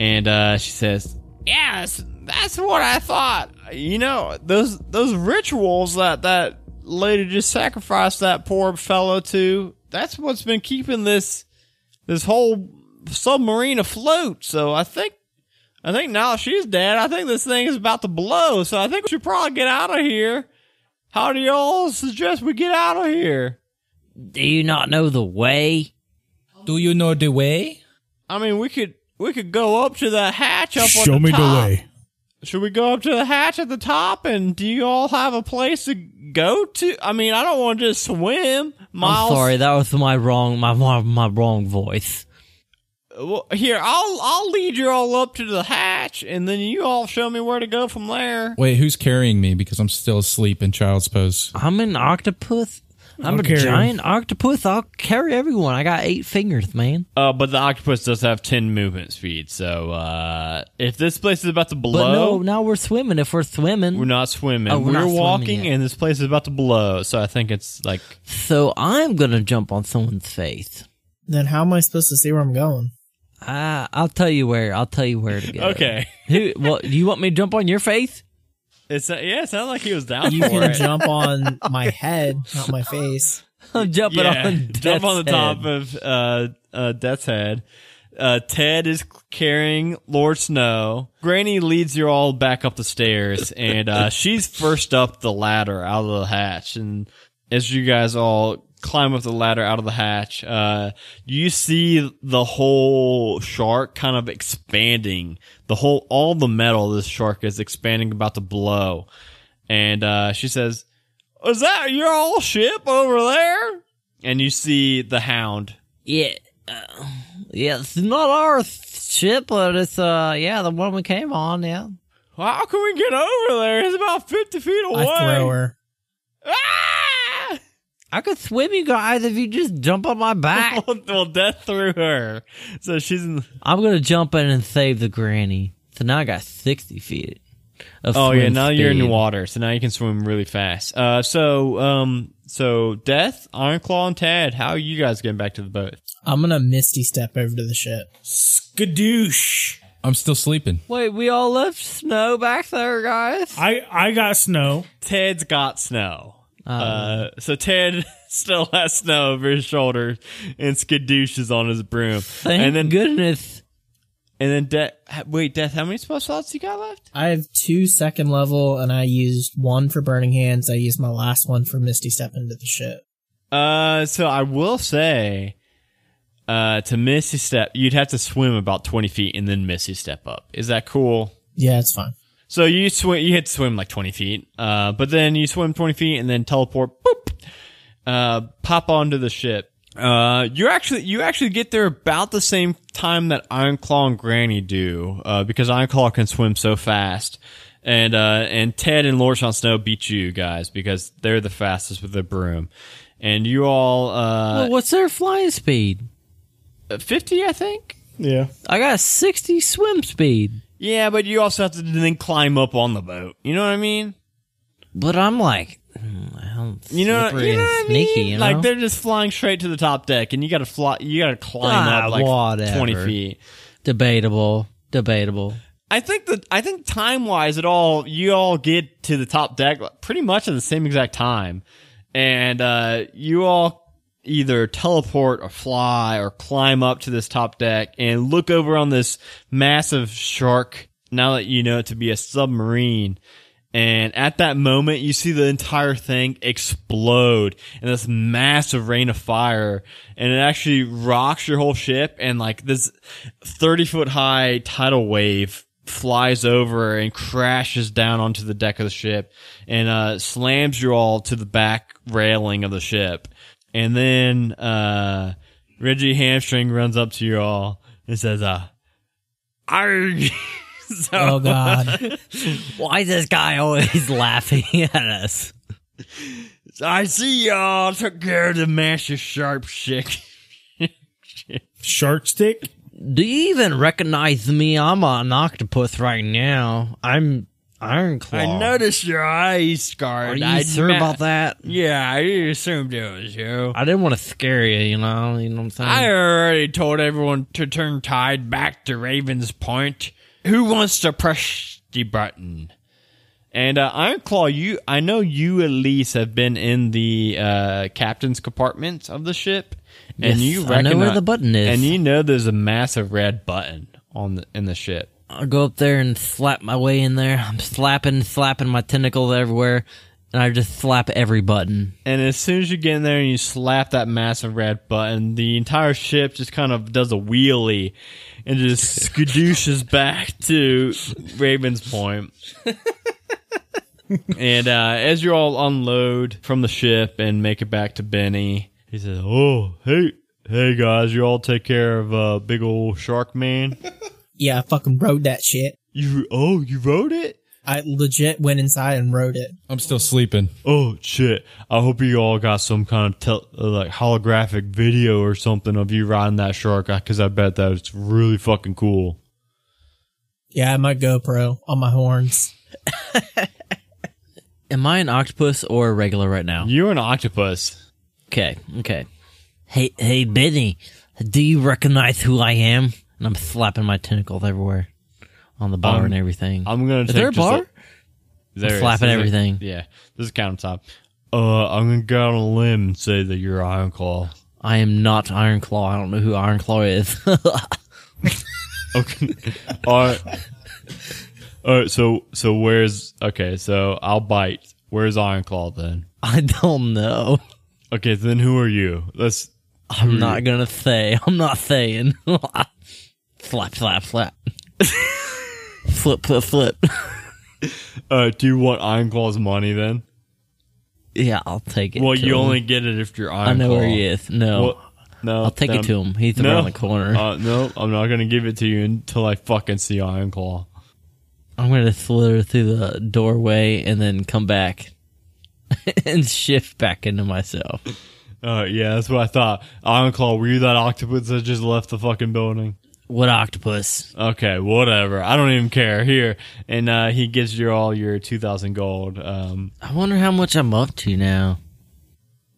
S1: and uh she says yeah that's, that's what i thought you know those those rituals that that lady just sacrificed that poor fellow to that's what's been keeping this this whole submarine afloat so i think i think now she's dead i think this thing is about to blow so i think we should probably get out of here how do y'all suggest we get out of here?
S6: Do you not know the way?
S8: Do you know the way?
S1: I mean, we could we could go up to the hatch up on
S5: Show
S1: the
S5: me the
S1: top.
S5: way.
S1: Should we go up to the hatch at the top? And do you all have a place to go to? I mean, I don't want to just swim. Miles,
S6: I'm sorry, that was my wrong my my, my wrong voice.
S1: Well, here I'll I'll lead you all up to the hatch, and then you all show me where to go from there.
S3: Wait, who's carrying me? Because I'm still asleep in child's pose.
S6: I'm an octopus. I'm
S5: I'll
S6: a
S5: carry him.
S6: giant octopus. I'll carry everyone. I got eight fingers, man.
S1: Uh, but the octopus does have ten movement speed, so uh, if this place is about to blow,
S6: But no, now we're swimming. If we're swimming,
S1: We're not swimming.
S6: Oh, we're
S1: we're
S6: not swimming
S1: walking,
S6: yet.
S1: and this place is about to blow. So I think it's like
S6: so I'm gonna jump on someone's face.
S4: Then how am I supposed to see where I'm going?
S6: I Ah, I'll tell you where. I'll tell you where to go.
S1: okay.
S6: Who? Well, do you want me to jump on your face?
S1: It's yeah. It sounded like he was down
S4: You
S1: for
S4: can
S1: it.
S4: jump on my head, not my face.
S6: I'm jumping
S1: yeah,
S6: on.
S1: jump on the
S6: Death's
S1: top
S6: head.
S1: of uh, uh, Death's head. Uh, Ted is carrying Lord Snow. Granny leads you all back up the stairs, and uh, she's first up the ladder out of the hatch. And as you guys all climb up the ladder out of the hatch, uh, you see the whole shark kind of expanding. The whole, all the metal of this shark is expanding, about to blow. And uh, she says, "Is that your all ship over there?" and you see the hound.
S6: Yeah. Uh, yeah, it's not our ship, but it's, uh, yeah, the one we came on, yeah.
S1: How can we get over there? It's about fifty feet away.
S4: I throw her.
S1: Ah!
S6: I could swim you guys if you just jump on my back.
S1: well, well, death through her, so she's in.
S6: I'm gonna jump in and save the granny. So now I got 60 feet. Of
S1: Oh yeah,
S6: swim
S1: now you're in the
S6: speed.
S1: water, so now you can swim really fast. Uh, so um, so death, Iron Claw, and Tad, how are you guys getting back to the boat?
S4: I'm gonna misty step over to the ship.
S5: Skadoosh.
S3: I'm still sleeping.
S6: Wait, we all left snow back there, guys?
S5: I I got snow.
S1: Ted's got snow. Uh, so Ted still has snow over his shoulder, and Skadoosh is on his broom.
S6: Thank
S1: and then,
S6: goodness.
S1: and then, Death. Wait, Death, how many spell slots you got left?
S4: I have two second level, and I used one for Burning Hands. I used my last one for Misty Step into the ship.
S1: Uh, so I will say, uh, to Misty Step, you'd have to swim about twenty feet and then Misty Step up. Is that cool?
S4: Yeah, it's fine.
S1: So you swim, you had to swim like twenty feet. Uh, but then you swim twenty feet and then teleport. Boop. Uh, pop onto the ship. Uh, you actually you actually get there about the same time that Iron Claw and Granny do. Uh, because Iron Claw can swim so fast. And uh, and Ted and Lord Sean Snow beat you guys because they're the fastest with their broom. And you all uh,
S6: Well, what's their flying speed?
S1: 50, I think.
S5: Yeah.
S6: I got 60 swim speed.
S1: Yeah, but you also have to then climb up on the boat. You know what I mean?
S6: But I'm like, hmm, I'm
S1: You know,
S6: slippery
S1: you know
S6: and
S1: what I
S6: sneaky,
S1: mean?
S6: you know?
S1: Like they're just flying straight to the top deck, and you got to fly. You got to climb
S6: Ah,
S1: up like
S6: whatever.
S1: twenty feet.
S6: Debatable. Debatable.
S1: I think that I think time wise, it all you all get to the top deck pretty much at the same exact time, and uh, you all either teleport or fly or climb up to this top deck and look over on this massive shark. Now that you know it to be a submarine. And at that moment, you see the entire thing explode in this massive rain of fire. And it actually rocks your whole ship. And like this 30 foot high tidal wave flies over and crashes down onto the deck of the ship and uh, slams you all to the back railing of the ship. And then uh, Reggie Hamstring runs up to you all and says, uh,
S2: Arg. so,
S8: Oh God!
S6: Why is this guy always laughing at us?
S2: so I see y'all took care of the master sharp chick.
S5: Shark stick?
S6: Do you even recognize me? I'm an octopus right now. I'm Iron Claw.
S2: I noticed your eyes scarred.
S6: Are you
S2: I
S6: sure
S2: ma-
S6: about that? Um,
S2: Yeah, I assumed it was you.
S6: I didn't want to scare you, you know. You know what I'm saying?
S2: I already told everyone to turn tide back to Raven's Point. Who wants to press the button?
S1: And uh, Ironclaw, you I know you at least have been in the uh, captain's compartment of the ship, and
S6: Yes,
S1: you
S6: I know where
S1: recogni-
S6: the button is.
S1: and you know there's a massive red button on the, in the ship.
S6: I'll go up there and slap my way in there. I'm slapping, slapping my tentacles everywhere, and I just slap every button.
S1: And as soon as you get in there and you slap that massive red button, the entire ship just kind of does a wheelie and just skadooshes back to Raven's Point. and uh, as you all unload from the ship and make it back to Benny, he says, "Oh, hey, hey guys, you all take care of uh, big old shark man.
S4: Yeah, I fucking rode that shit.
S1: You oh, you wrote it."
S4: I legit went inside and rode it.
S3: I'm still sleeping.
S1: Oh shit! I hope you all got some kind of tel- uh, like holographic video or something of you riding that shark, because I bet that it's really fucking cool.
S4: Yeah, my GoPro on my horns.
S6: Am I an octopus or a regular right now?
S1: You're an octopus.
S6: Okay, okay. Hey, hey, Benny, do you recognize who I am? And I'm slapping my tentacles everywhere on the bar
S1: Um,
S6: and everything.
S1: I'm gonna.
S6: Is
S1: take
S6: there a
S1: just
S6: bar?
S1: there it is.
S6: slapping
S1: There's a-
S6: everything.
S1: yeah, this is countertop. Uh, I'm gonna go out on a limb and say that you're Iron Claw.
S6: I am not Iron Claw. I don't know who Iron Claw is.
S1: Okay. all right. All right. So so where's okay? So I'll bite. Where's Iron Claw then?
S6: I don't know.
S1: Okay, then who are you? Let's.
S6: I'm
S1: Hmm.
S6: not gonna say. I'm not saying. slap, slap, slap. flip, flip, flip.
S1: Uh, do you want Iron Claw's money then?
S6: Yeah, I'll take it.
S1: Well,
S6: to
S1: you
S6: him.
S1: only get it if you're Iron
S6: I know
S1: Claw.
S6: where he is. No,
S1: Well, no,
S6: I'll take
S1: then-
S6: it to him. He's
S1: No.
S6: around the corner.
S1: Uh, no, I'm not gonna give it to you until I fucking see Iron Claw.
S6: I'm gonna slither through the doorway and then come back and shift back into myself.
S1: Uh, yeah, that's what I thought. Iron Claw, were you that octopus that just left the fucking building?
S6: What octopus?
S1: Okay, whatever. I don't even care. Here, and uh, he gives you all your two thousand gold. Um,
S6: I wonder how much I'm up to now.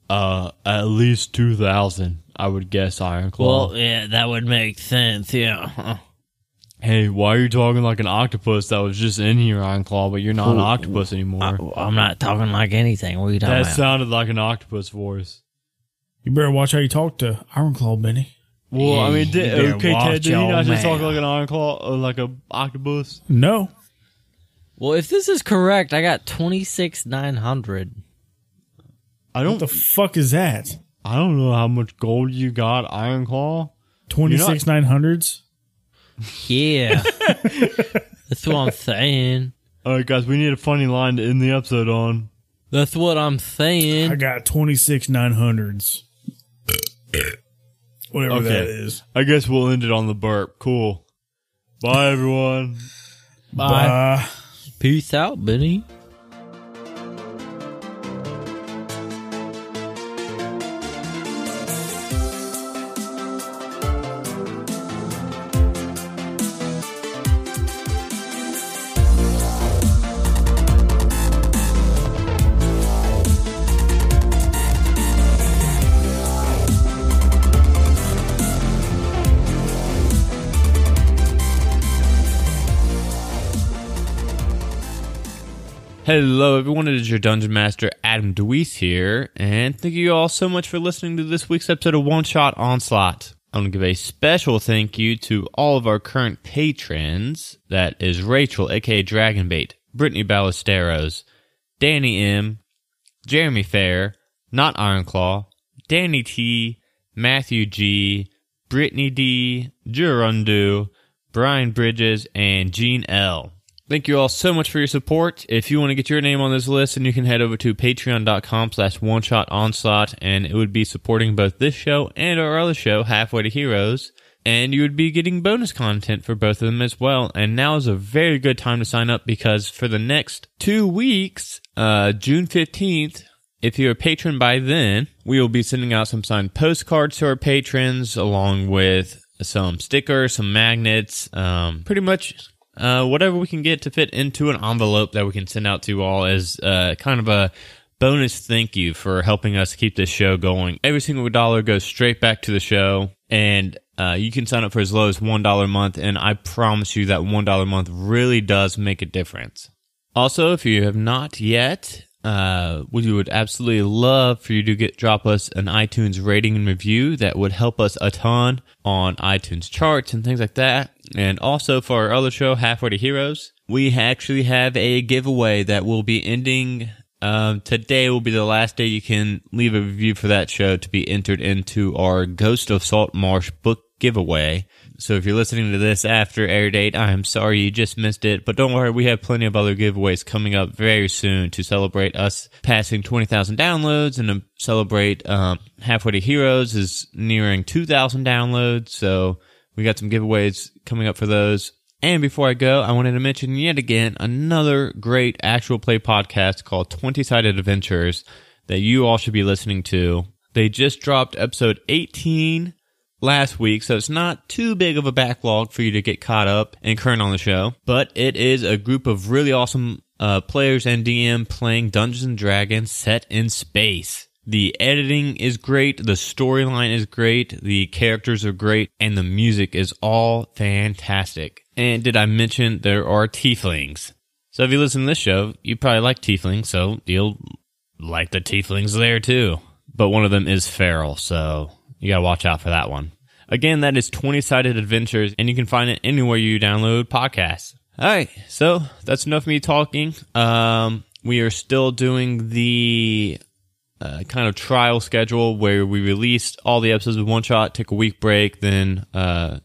S1: uh, at least two thousand, I would guess. Iron Claw.
S6: Well, yeah, that would make sense.
S1: uh,
S6: Yeah.
S1: hey, why are you talking like an octopus that was just in here, Iron Claw? But you're not an octopus anymore.
S6: I, Oh, am not talking like anything. What are you talking
S1: that
S6: about?
S1: sounded like an octopus voice.
S5: You better watch how you talk to Ironclaw, Benny.
S1: Well, I mean, did,
S6: better
S1: okay,
S6: watch
S1: Ted, did he
S6: your
S1: not just talk
S6: mouth.
S1: like an iron claw, or like a octopus?
S5: No.
S6: well, if this is correct, I got twenty six nine hundred.
S1: I
S5: What
S1: don't,
S5: the fuck is that?
S1: I don't know how much gold you got, Iron Claw.
S5: 26 900s?
S6: Yeah, that's what I'm saying.
S1: All right, guys, we need a funny line to end the episode on.
S6: That's what I'm
S5: I
S6: saying.
S5: got 26 900s. Whatever
S1: Okay.
S5: that is.
S1: I guess we'll end it on the burp. Cool. Bye, everyone.
S6: Bye.
S5: Bye.
S6: Peace out, Benny.
S1: Hello, everyone. It is your Dungeon Master, Adam Deweese here, and thank you all so much for listening to this week's episode of One Shot Onslaught. I want to give a special thank you to all of our current patrons. That is Rachel, aka Dragonbait, Brittany Ballesteros, Danny M, Jeremy Fair, Not Ironclaw, Danny T, Matthew G, Brittany D, Jurundu, Brian Bridges, and Gene L. Thank you all so much for your support. If you want to get your name on this list, and you can head over to patreon.com slash one shot onslaught, and it would be supporting both this show and our other show, Halfway to Heroes. and you would be getting bonus content for both of them as well. And now is a very good time to sign up because for the next two weeks, uh, June 15th, if you're a patron by then, we will be sending out some signed postcards to our patrons along with some stickers, some magnets, um, pretty much uh, whatever we can get to fit into an envelope that we can send out to all as uh, kind of a bonus thank you for helping us keep this show going. Every single dollar goes straight back to the show, and uh, you can sign up for as low as $1 a month, and I promise you that $1 a month really does make a difference. Also, if you have not yet, uh, we would absolutely love for you to get drop us an iTunes rating and review. That would help us a ton on iTunes charts and things like that. And also for our other show, Halfway to Heroes, we actually have a giveaway that will be ending. Um, today will be the last day you can leave a review for that show to be entered into our Ghost of Salt Marsh book giveaway. So if you're listening to this after air date, I am sorry you just missed it, but don't worry, we have plenty of other giveaways coming up very soon to celebrate us passing 20,000 downloads and to celebrate um, Halfway to Heroes is nearing 2,000 downloads. So we got some giveaways coming up for those. And before I go, I wanted to mention yet again another great actual play podcast called 20 Sided Adventures that you all should be listening to. They just dropped episode 18 last week, so it's not too big of a backlog for you to get caught up and current on the show. But it is a group of really awesome uh, players and DM playing Dungeons and Dragons set in space. The editing is great, the storyline is great, the characters are great, and the music is all fantastic. And did I mention there are tieflings? So if you listen to this show, you probably like tieflings, so you'll like the tieflings there too. But one of them is feral, so you gotta watch out for that one. Again, that is 20 Sided Adventures, and you can find it anywhere you download podcasts. All right, so that's enough of me talking. Um, we are still doing the uh, kind of trial schedule where we release all the episodes with one shot, take a week break, then uh,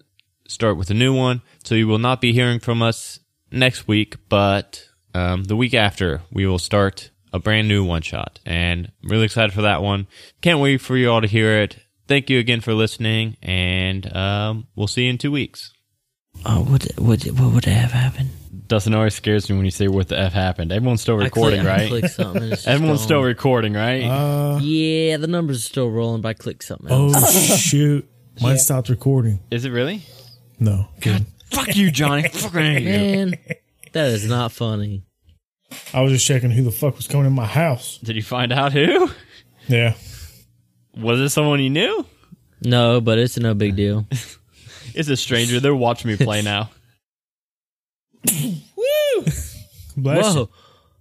S1: start with a new one. So you will not be hearing from us next week, but um, the week after we will start a brand new one shot, and I'm really excited for that one. Can't wait for you all to hear it. Thank you again for listening, and um, we'll see you in two weeks.
S6: Oh, what what what would have happened?
S1: Dustin always scares me when you say what the f happened. Everyone's still recording,
S6: I click, I
S1: right?
S6: click something. and it's just
S1: Everyone's still
S6: gone.
S1: recording, right?
S5: Uh-huh. Uh,
S6: yeah, the numbers are still rolling, but I click something. Else.
S5: Oh shoot! Mine stopped recording.
S1: Is it really?
S5: No.
S1: Fuck you, Johnny. Fucking hate you.
S6: man, that is not funny.
S5: I was just checking who the fuck was coming in my house.
S1: Did you find out who?
S5: Yeah.
S1: Was it someone you knew?
S6: No, but it's no big deal.
S1: It's a stranger. They're watching me play now.
S5: Bless you.
S6: Whoa,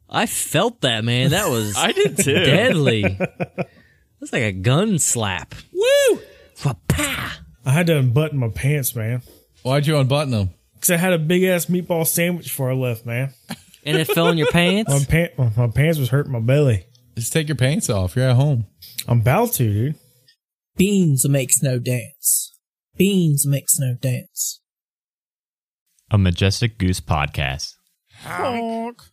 S6: I felt that man. That was
S1: I did too.
S6: deadly. That's like a gun slap. Woo! Wha-pa!
S5: I had to unbutton my pants, man,
S3: Why'd you unbutton them?
S5: because I had a big ass meatball sandwich before I left, man.
S6: And it fell in your
S5: My
S6: pants.
S5: pant, my pants was hurting my belly.
S3: Just take your pants off. You're at home.
S5: I'm about to, dude.
S4: Beans makes no dance. Beans makes no dance.
S1: A Majestic Goose podcast.
S5: Honk.